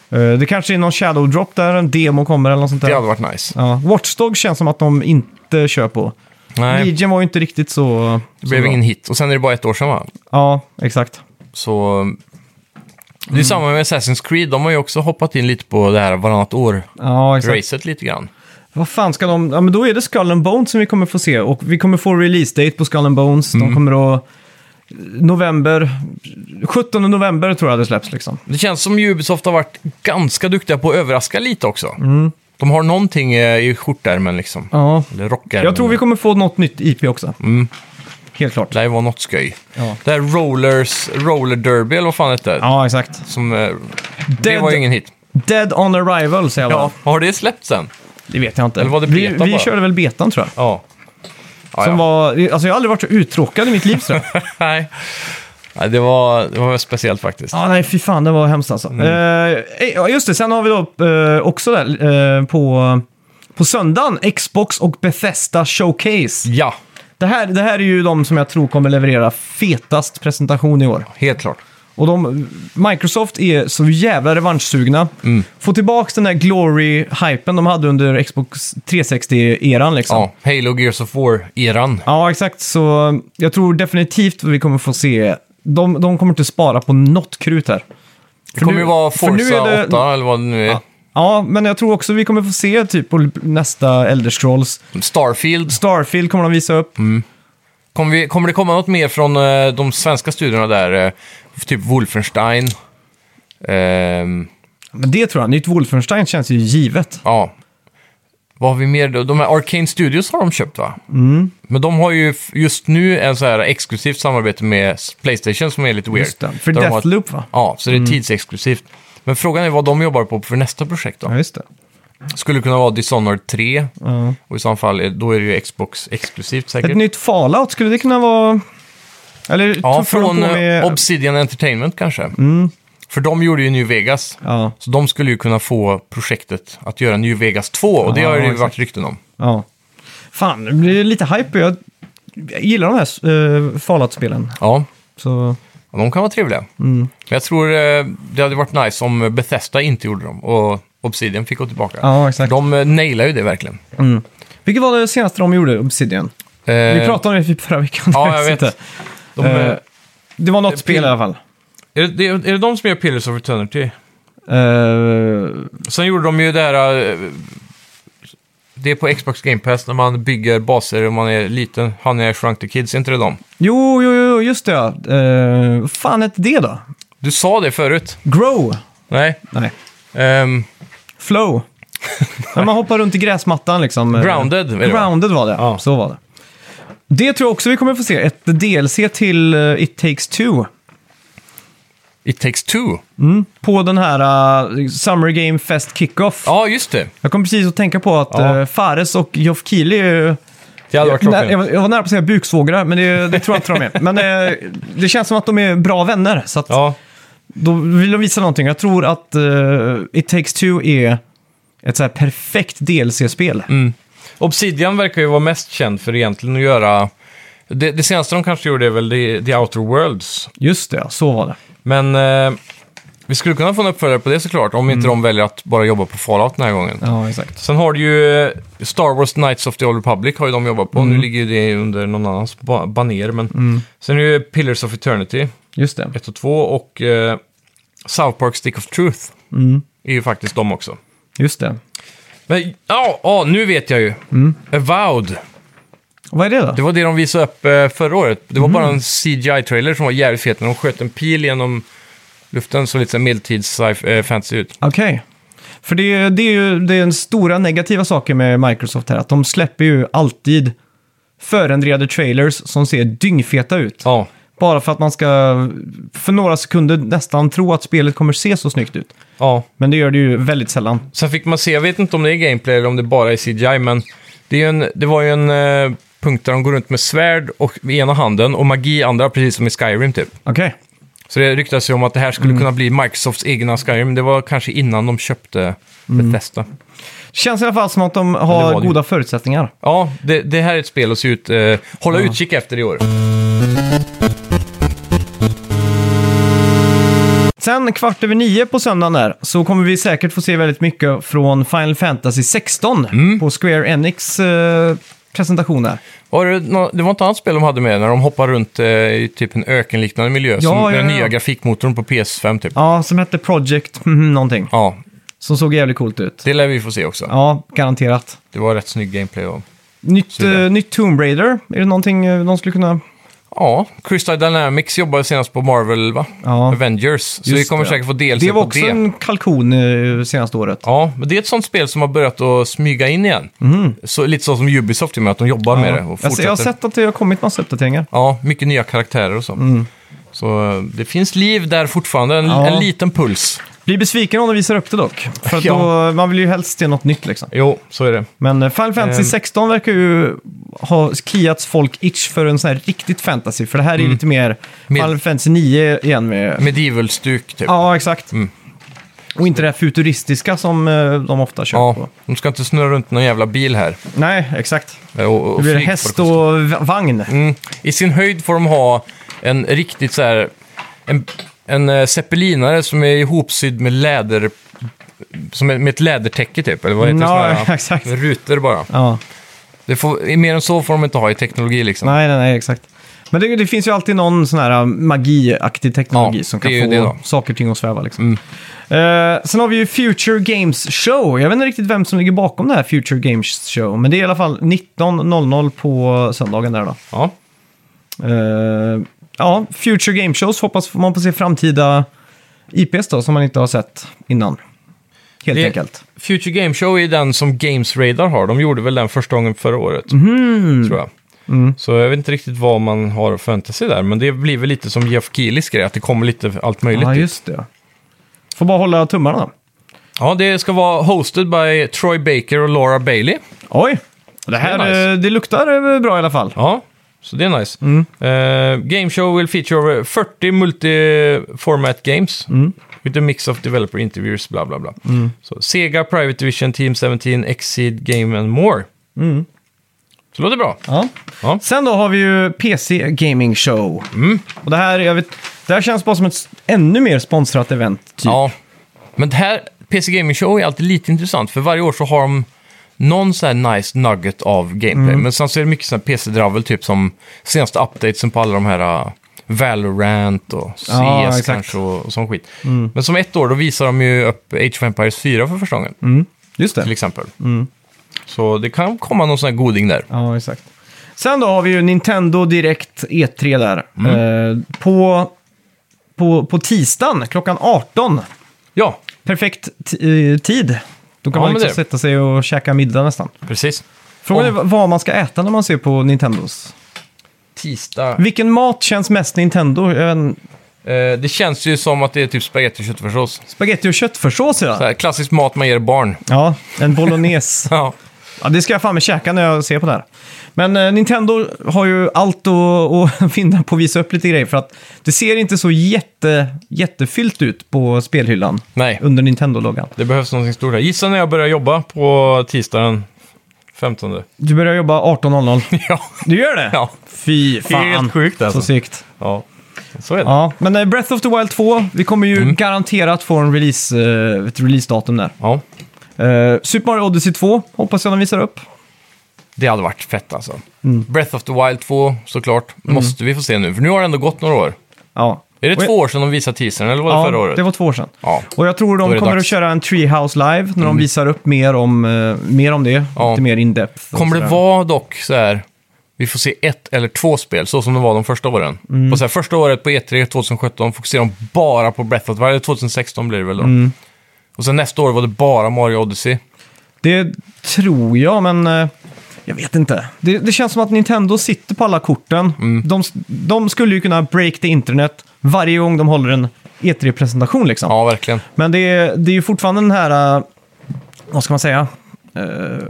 A: Eh, det kanske är någon shadow drop där, en demo kommer eller något sånt där.
B: Det hade varit nice.
A: Ja, Watchdog känns som att de inte kör på.
B: Nej,
A: Legion var ju inte riktigt så...
B: det blev ingen hit. Och sen är det bara ett år sedan va?
A: Ja, exakt.
B: Så... mm. Det är
A: Mm.
B: samma med Assassin's Creed. De har ju också hoppat in lite på det här varannat år-racet
A: Ja, exakt.
B: lite grann.
A: Vad fan ska de... Ja, men då är det Skull and Bones som vi kommer få se. Och vi kommer få release date på Skull and Bones.
B: Mm.
A: De kommer att... November... 17 november tror jag det släpps liksom.
B: Det känns som Ubisoft har varit ganska duktiga på att överraska lite också. De har någonting eh, i skjortärmen liksom.
A: Mm. Ja.
B: Eller rockärmen.
A: Jag tror vi kommer få något nytt IP också.
B: Mm.
A: Helt klart.
B: Det här var något skoj.
A: Ja.
B: Det här Rollers, Roller Derby eller vad fan hette det?
A: Ja, exakt.
B: Som, eh, det
A: Dead-
B: var ju ingen hit.
A: Dead on arrival säger jag bara.
B: Ja. Har det släppts sen?
A: Det vet jag inte.
B: Eller var det
A: vi
B: beta
A: vi
B: bara?
A: körde väl betan tror jag.
B: Ja. Ja,
A: Som
B: ja.
A: var... Alltså jag har aldrig varit så uttråkad i mitt liv tror jag.
B: (laughs) Nej. Nej, det var, det var speciellt faktiskt.
A: Ja, nej, fy fan, det var hemskt alltså.
B: Mm.
A: Eh, ja, just det, sen har vi då eh, också där eh, på, på söndagen, Xbox och Bethesda Showcase.
B: Ja,
A: Det här, det här är ju de som jag tror kommer leverera fetast presentation i år.
B: helt klart.
A: Och de, Microsoft är så jävla revanschsugna.
B: Mm.
A: Få tillbaka den där glory-hypen de hade under Xbox 360-eran liksom.
B: Ja, Halo Gears of War-eran.
A: Ja, exakt. Så jag tror definitivt vi kommer få se... De, de kommer inte spara på något krut här.
B: Det kommer ju vara
A: för nu är
B: Forza
A: det-
B: 8 eller vad det nu är.
A: Ja, men jag tror också vi kommer få se typ på nästa Elder Scrolls.
B: Starfield.
A: Starfield kommer de visa upp.
B: Mm. Kommer, vi, kommer det komma något mer från eh, de svenska studiorna där? eh, typ Wolfenstein? Ehm,
A: Men det tror jag. Nytt Wolfenstein känns ju givet.
B: ja. Vad har vi mer då? De här Arcane Studios har de köpt va?
A: Mm.
B: Men de har ju f- just nu en så här exklusivt samarbete med s- Playstation som är lite weird.
A: Just det. För
B: Där de har-
A: Deathloop Mm. va?
B: Ja, så det är tidsexklusivt. Men frågan är vad de jobbar på för nästa projekt då?
A: Ja, just det.
B: Skulle det kunna vara Dishonored 3? Och i så fall, är- då är det ju Xbox exklusivt säkert.
A: Ett nytt Fallout, skulle det kunna vara... Eller
B: Ja,
A: tuffar de
B: från
A: på med... Mm.
B: eh, Obsidian Entertainment kanske. För de gjorde ju New Vegas.
A: ja,
B: Så de skulle ju kunna få projektet att göra New Vegas 2 och det
A: Ja,
B: har ju
A: exakt.
B: varit rykten om.
A: ja. Fan, nu blir det lite hype. Jag jag gillar de här eh, Fallout-spelen.
B: Ja,
A: Så...
B: och de kan vara trevliga.
A: Mm.
B: Men jag tror eh, det hade varit nice om Bethesda inte gjorde dem och Obsidian fick gå tillbaka.
A: Ja, exakt.
B: De eh, nailar ju det verkligen.
A: Vilket var det senaste de gjorde, Obsidian? Vi pratade om det typ förra veckan.
B: ja, jag vet.
A: Inte.
B: Eh, de,
A: eh,
B: eh,
A: Det var något spel i alla fall.
B: är, det, är det de som gör Pillars of Eternity?
A: Eh,
B: Sen gjorde de ju det här... eh, Det är på Xbox Game Pass när man bygger baser och man är liten. Han är Shrunk the Kids, är inte det de?
A: jo, jo, jo, just det ja. Eh, Vad fan hette det då?
B: Du sa det förut.
A: Grow?
B: Nej.
A: Nej.
B: Ehm,
A: Flow? När man hoppar runt i gräsmattan liksom. eh,
B: grounded. är det va?
A: Grounded var det,
B: Ja.
A: så var det. Det tror jag också vi kommer få se. Ett DLC till eh, It takes two.
B: It takes two.
A: På den här eh, Summer Game Fest Kickoff.
B: Ja, just det.
A: Jag kom precis att tänka på att
B: Ja.
A: eh, Fares och Joff Keely är ju...
B: Det hade varit
A: Jag,
B: klockan.
A: jag, var- jag var nära på att säga buksvågrar, men det, det tror jag inte de är. Men eh, det känns som att de är bra vänner, så att
B: Ja,
A: då vill de visa någonting. Jag tror att eh, It takes two är ett så här perfekt DLC-spel.
B: Mm. Obsidian verkar ju vara mest känd för egentligen att göra... Det, det senaste de kanske gjorde är väl The, The Outer Worlds.
A: Just det, ja, så var det.
B: Men eh, vi skulle kunna få en uppföljare på det såklart, om inte de väljer att bara jobba på Fallout den här gången.
A: Mm. Ja, exakt.
B: Sen har du ju eh, Star Wars Knights of the Old Republic har ju de jobbat på.
A: Mm.
B: Nu ligger ju det under någon annans ba- baner. Men Sen är det ju Pillars of Eternity
A: Just det.
B: 1 och 2 och eh, South Park Stick of Truth är ju faktiskt de också.
A: Just det.
B: Men ja, ja, nu vet jag ju. Avowed.
A: Och vad är det då?
B: Det var det de visade upp eh, förra året. Det var bara en CGI-trailer som var jävligt fet när de sköt en pil genom luften. Så lite så här medeltids sci- eh, fantasy ut.
A: Okej. För det, det är ju det är en stora negativa saker med Microsoft här, att de släpper ju alltid förändrade trailers som ser dyngfeta ut.
B: Ja,
A: Bara för att man ska för några sekunder nästan tro att spelet kommer se så snyggt ut.
B: ja.
A: Men det gör det ju väldigt sällan.
B: Sen fick man se, jag vet inte om det är gameplay eller om det bara är CGI, men det, är ju en, det var ju en eh, punkt där de går runt med svärd och i ena handen och magi i andra, precis som i Skyrim typ.
A: Okej.
B: Så det ryktas ju om att det här skulle
A: Mm.
B: kunna bli Microsofts egna Skyrim. Det var kanske innan de köpte
A: Mm.
B: Bethesda.
A: Känns i alla fall som att de
B: det
A: har
B: var det ju.
A: goda förutsättningar.
B: Ja, det, det här är ett spel att se ut, eh, hålla utkik efter i år.
A: Sen kvart över nio på söndagen där så kommer vi säkert få se väldigt mycket från Final Fantasy 16
B: Mm.
A: på Square Enix eh, presentation där.
B: Var det, nå- det var ett annat spel de hade med när de hoppar runt eh, i typ en ökenliknande miljö, som
A: ja,
B: med den
A: ja.
B: nya grafikmotorn på PS5 typ. Ja.
A: Ja, som hette Project mhm, någonting. Som såg jävligt coolt ut.
B: det lär vi få se också.
A: Ja, garanterat.
B: Det var rätt snygg gameplay. Och...
A: Nytt,
B: Ser det.
A: eh, nytt Tomb Raider, är det någonting eh, de skulle kunna...
B: Ja, Crystal Dynamics jobbade senast på Marvel, va?
A: Ja.
B: Avengers. Så vi
A: Just
B: kommer
A: det.
B: säkert få DLC
A: Det var
B: på
A: också
B: det.
A: en kalkon eh, senaste året.
B: Ja, men det är ett sånt spel som har börjat att smyga in igen. Så, lite så som Ubisoft gör med, att de jobbar med det och
A: Mm. jag,
B: fortsätter.
A: ser- jag har sett att det har kommit massa uppdateringar.
B: Ja, mycket nya karaktärer och så. Så eh, det finns liv där fortfarande, en,
A: Mm. Ja.
B: en liten puls.
A: Blir besviken om de visar upp det dock. För
B: (laughs)
A: att
B: Ja.
A: då, man vill ju helst se något nytt liksom.
B: Jo, så är det.
A: Men eh, Final Fantasy
B: Ehm.
A: 16 verkar ju ha kliats folk itch för en sån här riktigt fantasy. För det här
B: Mm.
A: är lite mer
B: Med-
A: Final Fantasy 9 igen med...
B: Medieval-stuk typ. Ja.
A: Ja, exakt.
B: Mm.
A: Och inte det här futuristiska som eh, de ofta kör på.
B: de ska inte snurra runt någon jävla bil här.
A: Nej, exakt.
B: eh, Och, och
A: Det blir
B: flyg
A: häst
B: på det.
A: och v- vagn.
B: Mm. I sin höjd får de ha en riktigt så här... En, en eh, zeppelinare som är ihopsydd med läder... Som är, med ett lädertäcke typ, eller vad heter
A: Ja,
B: det? Såna här-
A: (laughs) exakt.
B: Med rutor bara.
A: Ja.
B: Det får, mer än så får de inte ha i teknologi liksom.
A: Nej, nej, nej, exakt. Men det, det finns ju alltid någon sån här äh, magiaktig teknologi
B: Ja,
A: som
B: det
A: kan
B: är ju
A: få
B: det då. Mm.
A: saker och ting att sväva. Liksom. Eh, sen har vi ju Future Games Show. Jag vet inte riktigt vem som ligger bakom det här Future Games Show, men det är i alla fall 19.00 på söndagen där då.
B: Ja.
A: Eh, ja, Future Games Shows hoppas man på se framtida IPs då, som man inte har sett innan. Helt
B: Det-
A: enkelt.
B: Future Game Show är den som Games Radar har. De gjorde väl den första gången förra året,
A: Mhm.
B: tror jag.
A: Mm.
B: Så jag vet inte riktigt vad man har att förvänta sig där, men det blir väl lite som Jeff Keelys grej, att det kommer lite allt möjligt.
A: Ja,
B: Ja,
A: just det. Får bara hålla tummarna då.
B: det ska vara hosted by Troy Baker och Laura Bailey.
A: Oj! Det här
B: Det är
A: eh, det luktar eh, bra i alla fall.
B: Ja, så det är nice. Eh, game Show will feature over 40 multi-format games with a mix of developer interviews, bla bla bla. Så Sega, Private Division, Team 17, Exceed, Game and More. Så låter bra.
A: Ja.
B: Ja. Mm.
A: Sen då har vi ju PC Gaming Show. Och det här, jag vet, det här känns bara som ett s- ännu mer sponsrat event. Typ.
B: Ja, men det här PC Gaming Show är alltid lite intressant, för varje år så har de någon sån här nice nugget av gameplay.
A: Mm.
B: Men sen så är det mycket sån här PC-dravel, typ som senaste updatesen på alla de här uh, Valorant och CS
A: Ja, exakt. Mm.
B: kanske och, och sån skit. Men som ett år, då visar de ju upp Age of Empires 4 för första gången,
A: Mm. Just
B: till
A: det.
B: exempel.
A: Mm.
B: Så det kan komma någon sån här goding där.
A: Ja, exakt. Sen då har vi ju Nintendo Direkt E3 där.
B: Mm.
A: Eh, på, på, på tisdagen klockan 18.
B: Ja,
A: Perfekt ti- eh, tid. Då kan
B: Ja,
A: man
B: men
A: liksom
B: det-
A: sätta sig och käka middag nästan.
B: precis.
A: Frågan är
B: Om-
A: v- vad man ska äta när man ser på Nintendos.
B: Tisdag.
A: Vilken mat känns mest Nintendo? En
B: Eh, det känns ju som att det är typ spagetti och köttfärssås.
A: spaghetti och köttfärssås
B: Så
A: idag.
B: här, Klassisk mat man ger barn.
A: Ja, en bolognese.
B: (laughs) Ja.
A: Ja, det ska jag fan med käka när jag ser på det här. Men eh, Nintendo har ju allt att, (laughs) att finna på att visa upp lite grejer för att det ser inte så jätte, jättefyllt ut på spelhyllan
B: Nej.
A: under Nintendo-loggan.
B: Det behövs någonting stort här. Gissa när jag börjar jobba på tisdagen 15.
A: Du börjar jobba 18.00.
B: (laughs) ja.
A: Du gör det?
B: Ja.
A: Fy
B: Det
A: fan.
B: är helt sjukt
A: Så
B: alltså.
A: sikt.
B: ja. Så är det. Ja.
A: Ja, men eh, Breath of the Wild 2, vi kommer ju
B: Mm.
A: garanterat få en release, eh, ett releasedatum där. Eh, Super Mario Odyssey 2 hoppas jag de visar upp.
B: Det hade varit fett alltså. Breath of the Wild 2 såklart. Måste vi få se nu. För nu har det ändå gått några år.
A: Ja.
B: Är det
A: Och jag-
B: två år sedan de visade teasern eller var det
A: Ja,
B: förra året?
A: det var två år sedan.
B: Ja.
A: Och jag tror
B: Då är
A: de
B: det
A: kommer
B: dags. Mm.
A: att köra en Treehouse live när de visar upp mer om, eh, mer om det.
B: Ja.
A: Lite mer in-depth. och
B: Kommer det
A: sådär.
B: vara dock så här. Vi får se ett eller två spel, så som det var de första åren. På så här, första året på E E3 2017 fokuserade de bara på Breath of the Wild. Eller 2016 blir det väl då. Och sen nästa år var det bara Mario Odyssey.
A: Det tror jag, men eh, jag vet inte. Det, det känns som att Nintendo sitter på alla korten.
B: Mm.
A: De, de skulle ju kunna break the internet varje gång de håller en E3-presentation liksom.
B: Ja, verkligen.
A: Men det är, det är ju fortfarande den här, eh, vad ska man säga? Eh,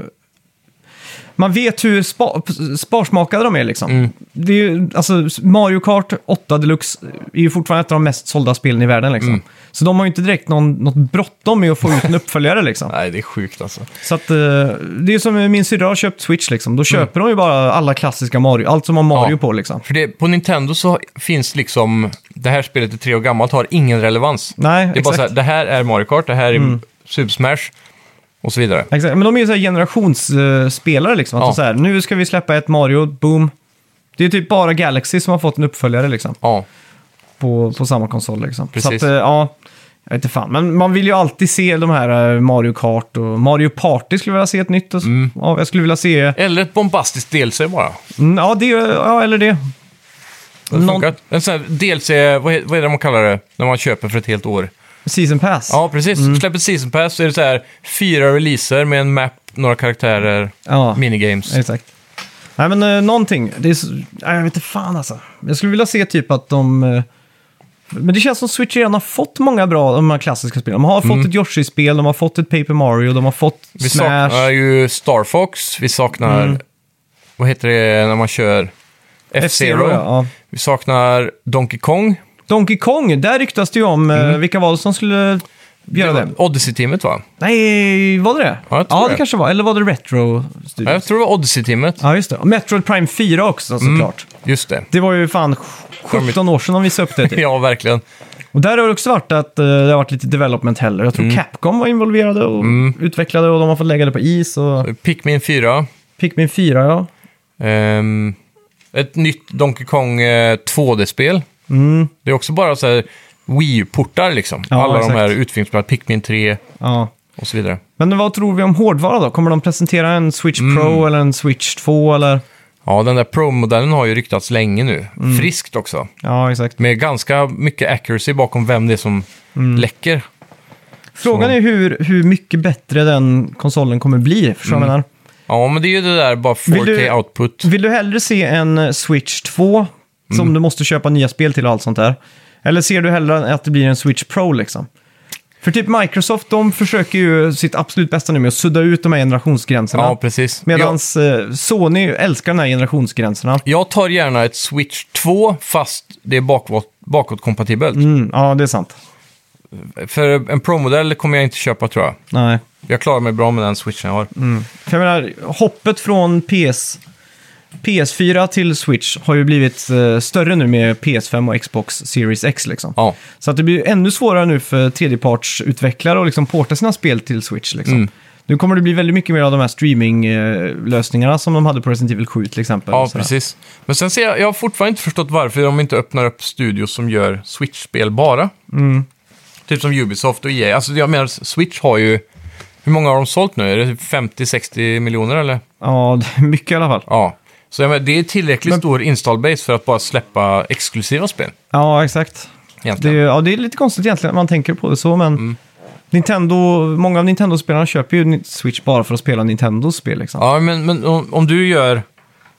A: man vet hur spa, sparsmakade de är liksom.
B: Mm.
A: Det är ju, alltså, Mario Kart 8 Deluxe är ju fortfarande ett av de mest sålda spelen i
B: Mm.
A: världen liksom. Så de har ju inte direkt någon, något bråttom med att få ut en uppföljare liksom.
B: Nej, det är sjukt alltså.
A: Så att, eh, det är som min syrra har köpt Switch liksom. Då köper de ju bara alla klassiska Mario, allt som har Mario
B: Mm. Ja.
A: på liksom.
B: För det, på Nintendo så finns liksom, det här spelet är tre år gammalt, har ingen relevans.
A: Nej,
B: det är
A: exakt. Mm.
B: bara så här, det här är Mario Kart, det här är Super Smash och så vidare.
A: Exakt, men de är ju så här generationsspelare liksom. Att
B: Ja.
A: de så här, nu ska vi släppa ett Mario, boom. Det är typ bara Galaxy som har fått en uppföljare liksom.
B: Ja,
A: På, på samma konsol liksom.
B: Precis.
A: Så att, eh, ja, jag vet inte fan. Men man vill ju alltid se de här eh, Mario Kart och Mario Party skulle jag vilja se ett nytt. Och, så.
B: Mm.
A: ja, jag skulle vilja se,
B: eller ett bombastiskt DLC bara.
A: mm, ja, det, ja eller det.
B: Det
A: Någon-
B: funkar. En sån här DLC, vad, he- vad är det man kallar det, när man köper för ett helt år?
A: Season Pass.
B: Ja, precis.
A: Mm.
B: Släpper ett Season Pass så är det så här fyra releaser med en map, några karaktärer,
A: Ja.
B: minigames.
A: Exakt. Nej men eh, någonting. Det är, så- nej, jag vet inte fan alltså. Jag skulle vilja se typ att de... eh, men det känns som Switch redan har fått många bra av de här klassiska spelen. De har fått ett Yoshi-spel, de har fått ett Paper Mario, de har fått
B: Mm. Vi
A: Smash. Mm.
B: saknar ju Star Fox, vi saknar, vad heter det när man kör?
A: F-Zero,
B: F-Zero.
A: ja.
B: Vi saknar Donkey Kong.
A: Donkey Kong, där ryktas det ju om eh, vilka var det som skulle göra det.
B: Mm. var Odyssey-teamet va?
A: Nej, var det det?
B: Ja, jag tror
A: ja det
B: det.
A: kanske var. Eller var det Retro
B: Ja,
A: Studios?
B: jag tror det var Odyssey-teamet.
A: Ja, just det. Och Metroid Prime 4 också såklart.
B: Just det.
A: Det var ju fan 17 år sedan de visade upp det. Typ.
B: Ja, verkligen.
A: Och där har det också varit att eh, det har varit lite development heller. Jag tror Capcom var involverade och utvecklade och de har fått lägga det på is. Och
B: Pikmin 4.
A: Pikmin 4, ja.
B: ehm, ett nytt Donkey Kong eh, 2D-spel. Det är också bara så här Wii U-portar liksom.
A: Mm. Ja,
B: Alla
A: exakt.
B: de här utfilmsspelen, Pikmin 3
A: ja.
B: och så vidare.
A: Men vad tror vi om hårdvara då? Kommer de presentera en Switch Pro eller en Switch 2? Eller?
B: Ja, den där Pro-modellen har ju ryktats länge nu.
A: Mm.
B: Friskt också.
A: Ja, exakt.
B: Med ganska mycket accuracy bakom vem det är som
A: Mm.
B: läcker.
A: Frågan
B: Så.
A: är hur, hur mycket bättre den konsolen kommer bli. Förstår du vad jag menar?
B: Ja, men det är ju det där bara
A: Vill du-
B: 4K-output.
A: Vill du hellre se en eh, Switch 2
B: Mm.
A: som du måste köpa nya spel till och allt sånt där? Eller ser du hellre att det blir en Switch Pro liksom? För typ Microsoft, de försöker ju sitt absolut bästa nu med att sudda ut de här generationsgränserna.
B: Ja, precis.
A: Medan Sony älskar de här generationsgränserna.
B: jag, jag tar gärna ett Switch 2 fast det är bakåt, bakåtkompatibelt.
A: Mm, ja, det är sant.
B: För en Pro-modell kommer jag inte köpa tror jag.
A: Nej.
B: Jag klarar mig bra med den switchen jag har.
A: Mm. För jag menar, hoppet från PS, PS4 till Switch har ju blivit eh, större nu med PS5 och Xbox Series X liksom.
B: Ja.
A: Så att det blir ännu svårare nu för tredjepartsutvecklare att liksom porta sina spel till Switch. Liksom.
B: Mm.
A: Nu kommer det bli väldigt mycket mer av de här streaminglösningarna som de hade på Resident Evil 7 till exempel.
B: Ja,
A: och sådär.
B: precis. Men sen ser jag, jag har fortfarande inte förstått varför de inte öppnar upp studios som gör Switch-spel bara.
A: Mm.
B: Typ som Ubisoft och EA. Alltså jag menar, Switch har ju... Hur många har de sålt nu? Är det 50-60 miljoner eller?
A: Ja, det är mycket i alla fall.
B: Ja. Så jag menar, det är tillräckligt stor install base för att bara släppa exklusiva spel.
A: Ja, exakt. Det är,
B: Egentligen. Mm.
A: ja, det är lite konstigt egentligen när man tänker på det så, men Nintendo, många av Nintendo-spelarna köper ju Ni- Switch bara för att spela Nintendos spel. Liksom.
B: Ja, men, men om, om du gör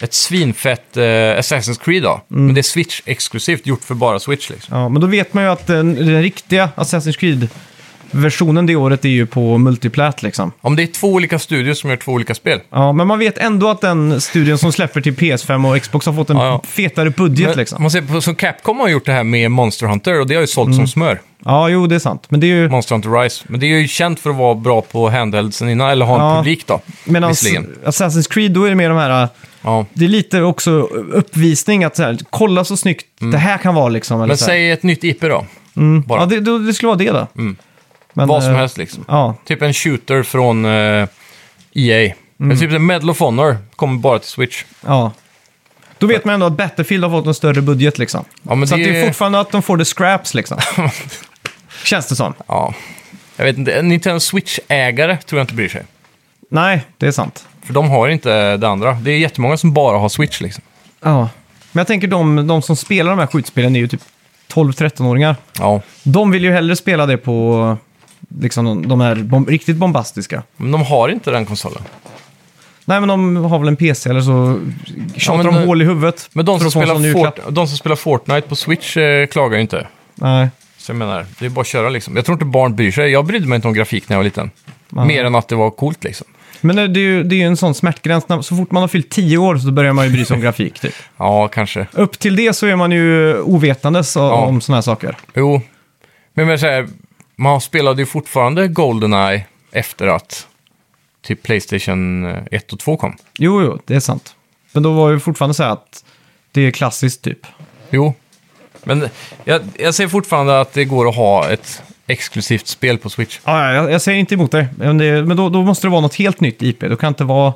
B: ett svinfett eh, Assassin's Creed då,
A: Mm.
B: men det är Switch-exklusivt, gjort för bara Switch liksom.
A: Ja, men då vet man ju att den, den riktiga Assassin's Creed-versionen det året är ju på multiplat liksom.
B: Om det är två olika studios som gör två olika spel.
A: Ja, men man vet ändå att den studion som släpper till PS5 och Xbox har fått en
B: Ja, ja.
A: fetare budget
B: Men
A: liksom.
B: Man ser på, så Capcom har gjort det här med Monster Hunter och det har ju sålt
A: Mm.
B: som smör.
A: Ja, jo, det är sant. Men det är ju...
B: Monster Hunter Rise. Men det är ju känt för att vara bra på handheld sen innan, eller ha en
A: Ja.
B: publik då.
A: Medan
B: Visserligen.
A: Assassin's Creed, då är det mer de här... äh,
B: Ja.
A: Det är lite också uppvisning att så här, kolla så snyggt det här kan vara liksom. Eller
B: Mm. Men
A: så här.
B: säg ett nytt IP då. bara.
A: Mm.
B: Mm.
A: Ja, det, då- det skulle vara det då. Men,
B: Vad som
A: eh,
B: helst liksom.
A: Ja,
B: Typ en shooter från eh, EA.
A: Mm.
B: Men typ en Medal of Honor kommer bara till Switch. (laughs)
A: ja. Då vet man ändå att Battlefield har fått en större budget liksom.
B: Ja, men
A: så
B: det
A: att det
B: är-
A: är fortfarande att de får det
B: (laughs)
A: scraps liksom. Känns det som.
B: Ja. Jag vet inte, en Nintendo Switch-ägare tror jag inte bryr sig.
A: Nej, det är sant.
B: För de har inte det andra. Det är jättemånga som bara har Switch liksom.
A: Ja. Men jag tänker de, de som spelar de här skjutspelen är ju typ 12-13-åringar.
B: Ja.
A: De vill ju hellre spela det på liksom, de, de här bom, riktigt bombastiska.
B: Men de har inte den konsolen.
A: Nej, men de har väl en PC eller så tjatar
B: men,
A: de
B: eh,
A: hål i huvudet.
B: Men de
A: för
B: som,
A: att få en
B: spelar
A: sån julklapp.
B: Fort, de som spelar Fortnite på Switch eh, klagar ju inte.
A: Nej.
B: Så jag menar, det är bara att köra liksom. Jag tror inte barn bryr sig. Jag brydde mig inte om grafik när jag var liten. Mer än att det var coolt liksom.
A: Men det är ju det är ju en sån smärtgräns. När- Så fort man har fyllt 10 år så börjar man ju
B: (laughs)
A: bry sig om grafik. Typ.
B: Ja, kanske.
A: Upp till det så är man ju ovetandes av- om såna här saker.
B: Jo. Men jag säger, man spelade ju fortfarande Goldeneye efter att typ Playstation 1 och 2 kom.
A: Jo, jo, det är sant. Men då var ju fortfarande så här att det är klassiskt typ.
B: Jo. Men jag, jag säger fortfarande att det går att ha ett exklusivt spel på Switch.
A: Ja, ja, jag, jag säger inte emot dig, men, det, men då, då måste det vara något helt nytt IP. Då kan det inte vara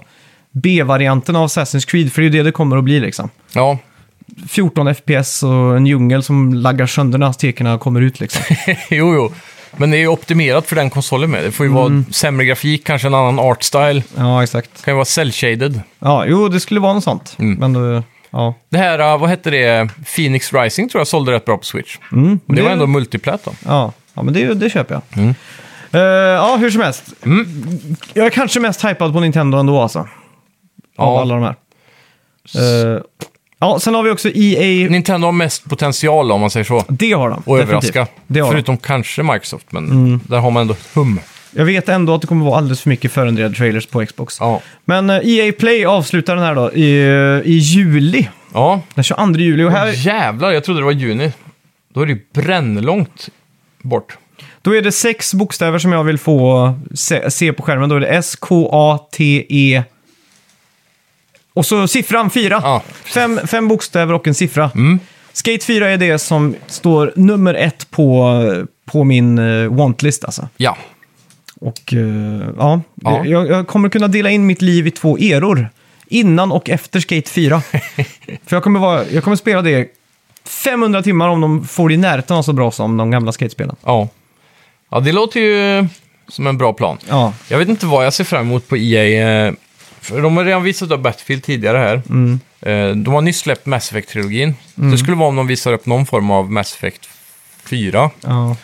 A: B-varianten av Assassin's Creed, för det är ju det det kommer att bli liksom.
B: Ja, (laughs)
A: 14 FPS och en djungel som laggar sönder när aztekerna kommer ut liksom.
B: (laughs) jo, jo. Men det är ju optimerat för den konsolen med. Det får ju vara sämre grafik, kanske en annan art style.
A: Ja, exakt.
B: Kan ju vara cell-shaded.
A: Ja, jo, det skulle vara något sånt.
B: Mm.
A: Men då, ja.
B: Det här, eh, vad hette det, Phoenix Rising tror jag sålde rätt bra på Switch. Men det
A: det-
B: var ändå multiplat då.
A: Ja, ja men det, det köper jag.
B: Mm.
A: Eh, ja, hur som helst. Jag är kanske mest hypad på Nintendo ändå alltså. Av
B: Ja.
A: alla de här. Eh, ja, sen har vi också EA.
B: Nintendo har mest potential om man säger så.
A: Det har de.
B: Och
A: definitivt.
B: överraska.
A: Det har de. Mm.
B: Förutom kanske Microsoft, men där har man ändå ett hum.
A: Jag vet ändå att det kommer vara alldeles för mycket förändrade trailers på Xbox.
B: Ja.
A: Men eh, EA Play avslutar den här då i, eh, i juli.
B: ja.
A: Den 22 juli. Och här,
B: Jävlar, jag trodde det var juni. Då är det ju brännlångt bort.
A: då är det sex bokstäver som jag vill få se, se på skärmen. Då är det S-K-A-T-E... E. Och så siffran fyra.
B: Ja. Mm.
A: Fem, fem bokstäver och en siffra. Skate 4 är det som står nummer ett på, på min eh, wantlist alltså.
B: Ja.
A: Och eh, ja,
B: Ja.
A: Jag, jag kommer kunna dela in mitt liv i två eror. Innan och efter
B: (laughs)
A: Skate 4. För jag kommer, vara, jag kommer spela det 500 timmar om de får det i närheten av så bra som de gamla skatespelen.
B: Ja. Ja, det låter ju som en bra plan.
A: Ja,
B: Jag vet inte vad jag ser fram emot på EA. eh, För de har redan visat upp Battlefield tidigare här.
A: Mm.
B: Eh, De har nyss släppt Mass Effect-trilogin. Det skulle vara om de visar upp någon form av Mass Effect 4.
A: ja.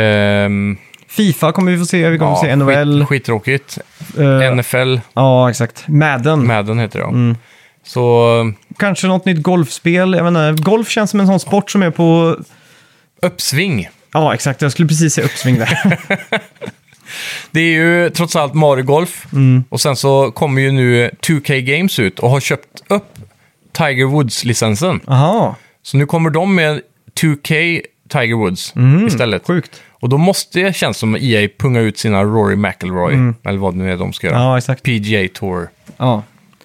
B: Ehm,
A: Fifa kommer vi få se, vi kommer få se NHL.
B: Skit, skittråkigt.
A: eh,
B: NFL,
A: ja, exakt. Madden.
B: Madden heter det. ja.
A: Mm.
B: Så
A: Kanske något nytt golfspel. Jag menar, golf känns som en sån sport som är på...
B: uppsving.
A: Ja, exakt. Jag skulle precis säga
B: (laughs)
A: uppsving där.
B: Det är ju trots allt Mario Golf.
A: Mm.
B: Och sen så kommer ju nu 2K Games ut och har köpt upp Tiger Woods-licensen.
A: Aha,
B: Så nu kommer de med 2K Tiger Woods istället.
A: Mm. sjukt.
B: Och då måste det känns som EA punga ut sina Rory McIlroy, eller vad det nu är de ska göra.
A: Mm. Ja, exakt.
B: PGA Tour.
A: Ja.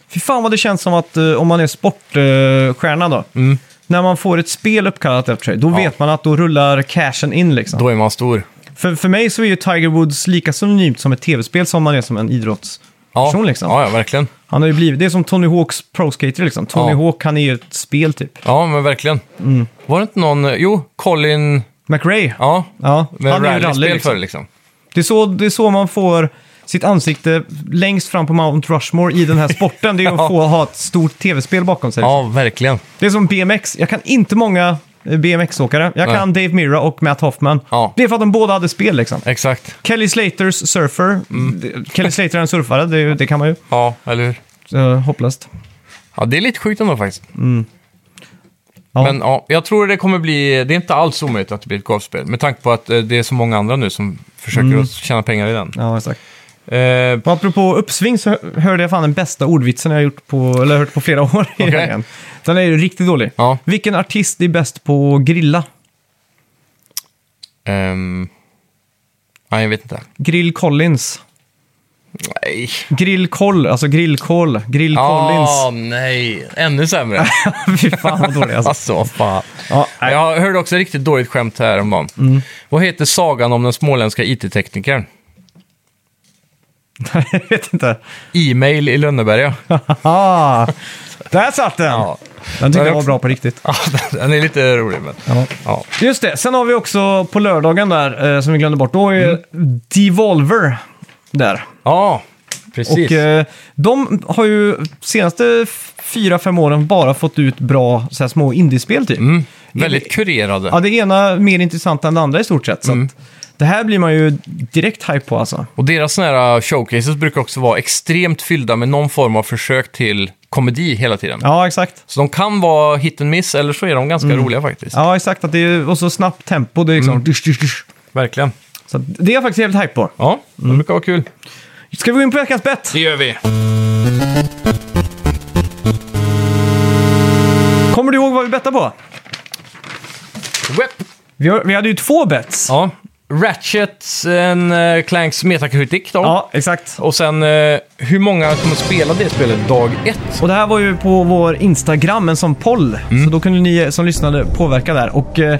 A: Fy fan vad det känns som att eh, om man är sportstjärna då.
B: Mm.
A: När man får ett spel uppkallat efter sig, då vet man att då rullar cashen in liksom.
B: Då är man stor.
A: För, för mig så är ju Tiger Woods lika synonymt som ett tv-spel som man är som en idrottsperson
B: Ja,
A: liksom.
B: ja, ja verkligen.
A: Han har ju blivit, det är som Tony Hawks pro skater liksom. Tony
B: Ja.
A: Hawk, han är ju ett spel typ.
B: Ja, men verkligen.
A: Mm.
B: Var det inte någon, eh, jo, Colin,
A: McRae, ja.
B: ja, med
A: han är ju
B: rallyspel
A: rally liksom.
B: för liksom.
A: Det, är så, det är så man får sitt ansikte längst fram på Mount Rushmore i den här sporten. Det är ju
B: (laughs) Ja.
A: att få ha ett stort tv-spel bakom sig.
B: Ja, verkligen.
A: Det är som BMX. Jag kan inte många eh, BMX-åkare. Jag
B: Nej.
A: kan Dave Mirra och Matt Hoffman.
B: Ja.
A: Det är för att de båda hade spel liksom.
B: Exakt.
A: Kelly Slaters surfer.
B: Mm.
A: Det- Kelly Slater är en surfare, det, är ju- det kan man ju.
B: Ja, eller hur?
A: Uh, hopplöst.
B: Ja, det är lite sjukt ändå faktiskt.
A: Ja.
B: Men Mm. ja, jag tror det kommer bli, det är inte alls omöjligt att det blir ett golfspel. Med tanke på att eh, det är så många andra nu som försöker att tjäna pengar i den.
A: Ja, exakt.
B: Eh,
A: Och apropå uppsving så hö- hörde jag fan den bästa ordvitsen jag gjort på, eller hört på flera (laughs) år. i
B: Okej.
A: helgen. Den är ju riktigt dålig.
B: Ja.
A: Vilken artist är bäst på att grilla?
B: ehm, nej, jag vet inte.
A: Grill Collins.
B: Nej.
A: Grill Coll, alltså grillkål. Grill
B: Ah,
A: Collins. (laughs)
B: nej. Ännu (laughs) sämre.
A: Fy fan vad
B: (laughs)
A: dålig alltså.
B: alltså, fan.
A: Ja, nej.
B: Jag hörde också ett riktigt dåligt skämt här om dagen. Vad heter sagan om den småländska IT-teknikern?
A: jag vet inte.
B: E-mail i Lönneberga.
A: Ah, där satt den! Den tyckte jag var bra på riktigt.
B: (laughs) Ja, den är lite rolig, men... Ja.
A: Just det, sen har vi också på lördagen där, eh, som vi glömde bort, då är Devolver där.
B: Ja, precis.
A: Och eh, de har ju senaste fyra, fem åren bara fått ut bra så här, små indiespel typ.
B: mm. Väldigt kurerade.
A: Ja, det ena mer intressant än det andra i stort sett. Så att, det här blir man ju direkt hype på alltså.
B: Och deras såna här eh, showcases brukar också vara extremt fyllda med någon form av försök till komedi hela tiden.
A: Ja, exakt.
B: Så de kan vara hit and miss, eller så är de ganska roliga faktiskt.
A: Ja, exakt. Att det är, och så snabbt tempo. Det är liksom... Dusch, dusch, dusch.
B: Verkligen.
A: Så att, det är jag faktiskt jävligt hype på.
B: Ja, det brukar vara kul.
A: Ska vi gå in på veckans bett?
B: Det gör vi.
A: Kommer du ihåg vad vi bettade på?
B: Whip.
A: Vi, har, vi hade ju två bets.
B: Ja. Ratchets en eh, Clanks Metacritic då.
A: Ja, exakt.
B: Och sen eh, hur många kommer spela det spelet dag ett.
A: Och det här var ju på vår Instagram, en sån poll.
B: Mm.
A: Så då kunde ni som lyssnade påverka där. Och eh,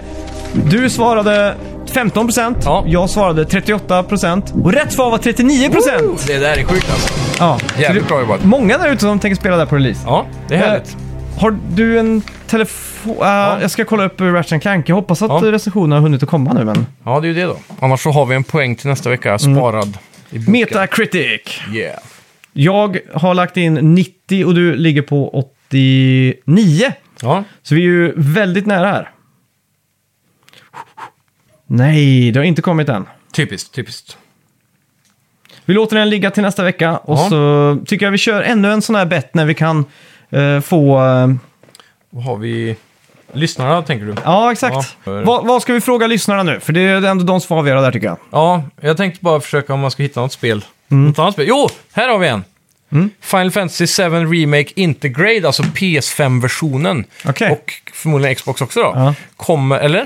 A: du svarade 15%,
B: Ja.
A: jag svarade 38% och rätt svar var 39%!
B: Det där är sjukt alltså.
A: Ja, så
B: Jävligt
A: det,
B: bra jobbat.
A: många där ute som tänker spela där på release.
B: Ja, det är
A: Eh,
B: härligt.
A: Har du en telefon? eh, Jag ska kolla upp Ratchet Clank. Jag hoppas att
B: Ja.
A: recensionen har hunnit att komma nu, men...
B: Ja, det är ju det då. Annars så har vi en poäng till nästa vecka
A: Mm.
B: sparad. I boken.
A: Metacritic!
B: Yeah.
A: Jag har lagt in 90 och du ligger på 89.
B: Ja.
A: Så vi är ju väldigt nära här. Nej, det har inte kommit än.
B: Typiskt, typiskt.
A: Vi låter den ligga till nästa vecka och
B: Ja.
A: så tycker jag vi kör ännu en sån här bett när vi kan eh, få... eh,
B: Vad har vi? Lyssnarna, tänker du?
A: ja, exakt.
B: Ja.
A: Vad- vad ska vi fråga lyssnarna nu? För det är ändå de som får avgöra där tycker jag.
B: Ja, jag tänkte bara försöka om man ska hitta något spel.
A: Mm.
B: Något annat spel. Jo, här har vi en! Final Fantasy 7 Remake Integrate, alltså PS5-versionen.
A: Okej.
B: Och förmodligen Xbox också då.
A: Ja.
B: Kommer, eller?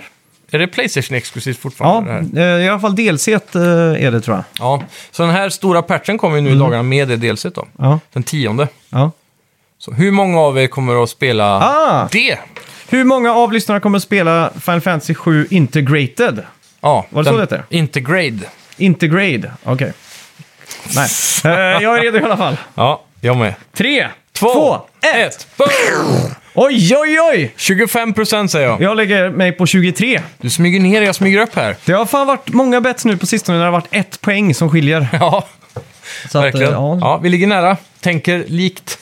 B: Är det Playstation exklusivt
A: Ja,
B: fortfarande? det här?
A: eh, i alla fall DLC eh, är det tror jag.
B: ja. Så den här stora patchen kommer ju
A: Mm.
B: nu i dagarna med det delset då.
A: Ja,
B: Den tionde.
A: ja.
B: Så hur många av er kommer att spela
A: Ah!
B: det?
A: Hur många av lyssnarna kommer att spela Final Fantasy 7 Integrated?
B: Ja,
A: Var det så det hette?
B: Intergrade.
A: Integrade, okej. Nej, Eh, jag är redo i alla fall.
B: Ja, jag med.
A: Tre,
B: Två,
A: två, ett.
B: ett. Boom!
A: Oj, oj, oj!
B: 25 procent säger jag.
A: Jag lägger mig på 23.
B: Du smyger ner, jag smyger upp
A: (laughs)
B: här.
A: Det har fan varit många bets nu på sistone när det har varit ett poäng som skiljer.
B: Ja,
A: (laughs) Så att, eh,
B: verkligen.
A: ja,
B: Ja, vi ligger nära. Tänker likt.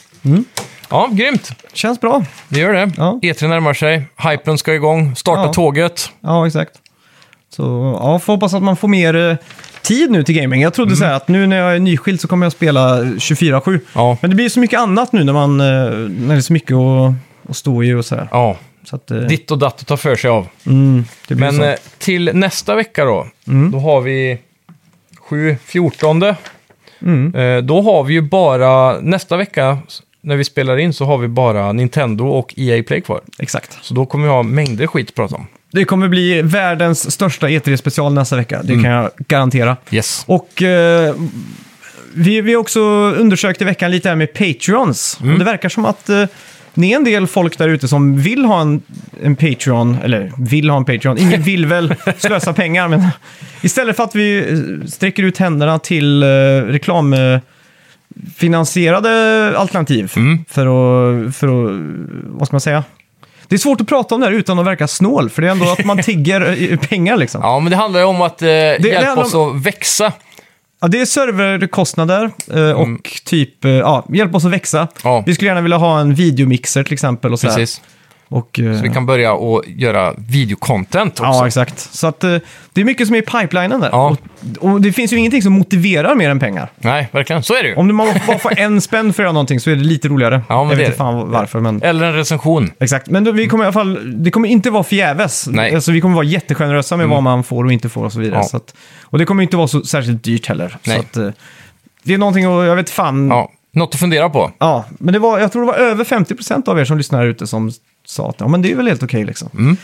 B: Ja, grymt.
A: Känns bra.
B: Det gör det.
A: Ja.
B: E3 närmar sig, hypen ska igång, starta
A: Ja.
B: tåget.
A: Ja, exakt. Så ja, får hoppas att man får mer eh, tid nu till gaming. Jag trodde
B: Mm.
A: så här att nu när jag är nyskild så kommer jag spela eh, 24-7.
B: Ja.
A: Men det blir ju så mycket annat nu när, man, eh, när det är så mycket att, att stå i och så här.
B: Ja,
A: Så att, eh,
B: ditt och datt att ta för sig av.
A: mm, det Mm. blir
B: Men
A: så.
B: eh, till nästa vecka då, då har vi 7, 14.
A: Mm.
B: Eh, då har vi ju bara, nästa vecka s- när vi spelar in så har vi bara Nintendo och EA Play kvar.
A: Exakt.
B: Så då kommer vi ha mängder skit att prata om.
A: Det kommer bli världens största E3-special nästa vecka.
B: Mm.
A: Det kan jag garantera.
B: Yes.
A: Och eh, vi, vi har också undersökt i veckan lite här med Patreons. Och det verkar som att eh, det är en del folk där ute som vill ha en, en Patreon, eller vill ha en Patreon. Ingen vill väl slösa pengar, men istället för att vi eh, sträcker ut händerna till eh, reklam... Eh, finansierade alternativ för att, för att, vad ska man säga? Det är svårt att prata om det här utan att verka snål, för det är ändå att man tigger eh, pengar liksom.
B: Ja, men det handlar ju om att eh, hjälpa
A: handlar
B: oss att växa.
A: Ja, det är serverkostnader eh, och
B: Mm.
A: typ, eh, ja, hjälp oss att växa.
B: Ja.
A: Vi skulle gärna vilja ha en videomixer till exempel och sådär.
B: Precis.
A: Och, eh,
B: Så vi kan börja och göra videocontent också.
A: Ja, exakt. Så att eh, det är mycket som är i pipelinen där.
B: Ja.
A: Och, och det finns ju ingenting som motiverar mer än pengar.
B: Nej, verkligen. Så är det ju.
A: Om man bara får en spänn för att göra någonting så är det lite roligare.
B: Ja, men
A: jag
B: det
A: vet
B: är
A: inte fan varför, men...
B: Eller en recension.
A: Exakt, men då, vi kommer i alla fall, det kommer inte vara förgäves.
B: Nej. Mm.
A: Alltså, vi kommer vara jättegenerösa med vad man får och inte får och så vidare.
B: Ja.
A: Så att, och det kommer inte vara så särskilt dyrt heller.
B: Nej.
A: Så att, eh, det är någonting, och jag vet fan,
B: Ja, något att fundera på.
A: Ja, men det var, jag tror det var över 50% av er som lyssnar här ute som sa att ja, men det är väl helt okej liksom.
B: Mm.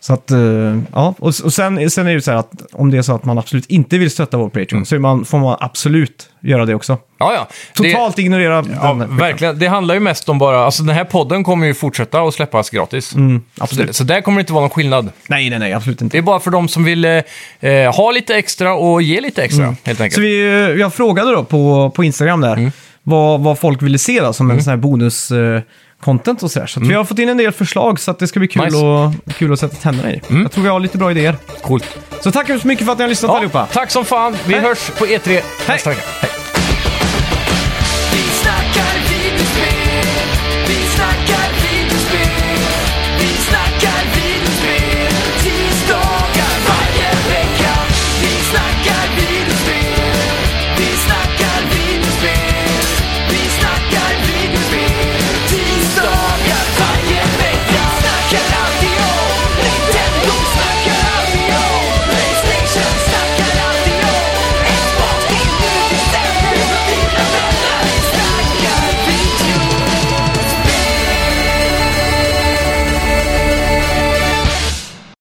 A: Så att, eh, ja, och, och sen, sen är det ju så här att om det är så att man absolut inte vill stötta vår Patreon så är man, får man absolut göra det också.
B: Ja, ja. Mm. Det-
A: Totalt ignorera
B: Ja,
A: den.
B: verkligen. Det handlar ju mest om bara, alltså den här podden kommer ju fortsätta och släppas gratis.
A: Mm, absolut.
B: Så där kommer det inte vara någon skillnad.
A: Nej, nej, nej, absolut
B: Det
A: inte.
B: är bara för de som vill eh, eh, ha lite extra och ge lite extra, helt enkelt.
A: Så vi, eh, jag frågade då på, på Instagram där
B: Mm.
A: vad, vad folk ville se då, som en sån här bonus... eh, content och sådär. Så att vi har fått in en del förslag så att det ska bli kul,
B: Mm. Nice. Mm.
A: och, kul att sätta tänderna i. Jag tror vi har lite bra idéer.
B: Coolt.
A: Så tack så mycket för att ni har lyssnat allihopa.
B: tack som fan. Vi
A: Hej.
B: hörs på E3 nästa vecka. Hej.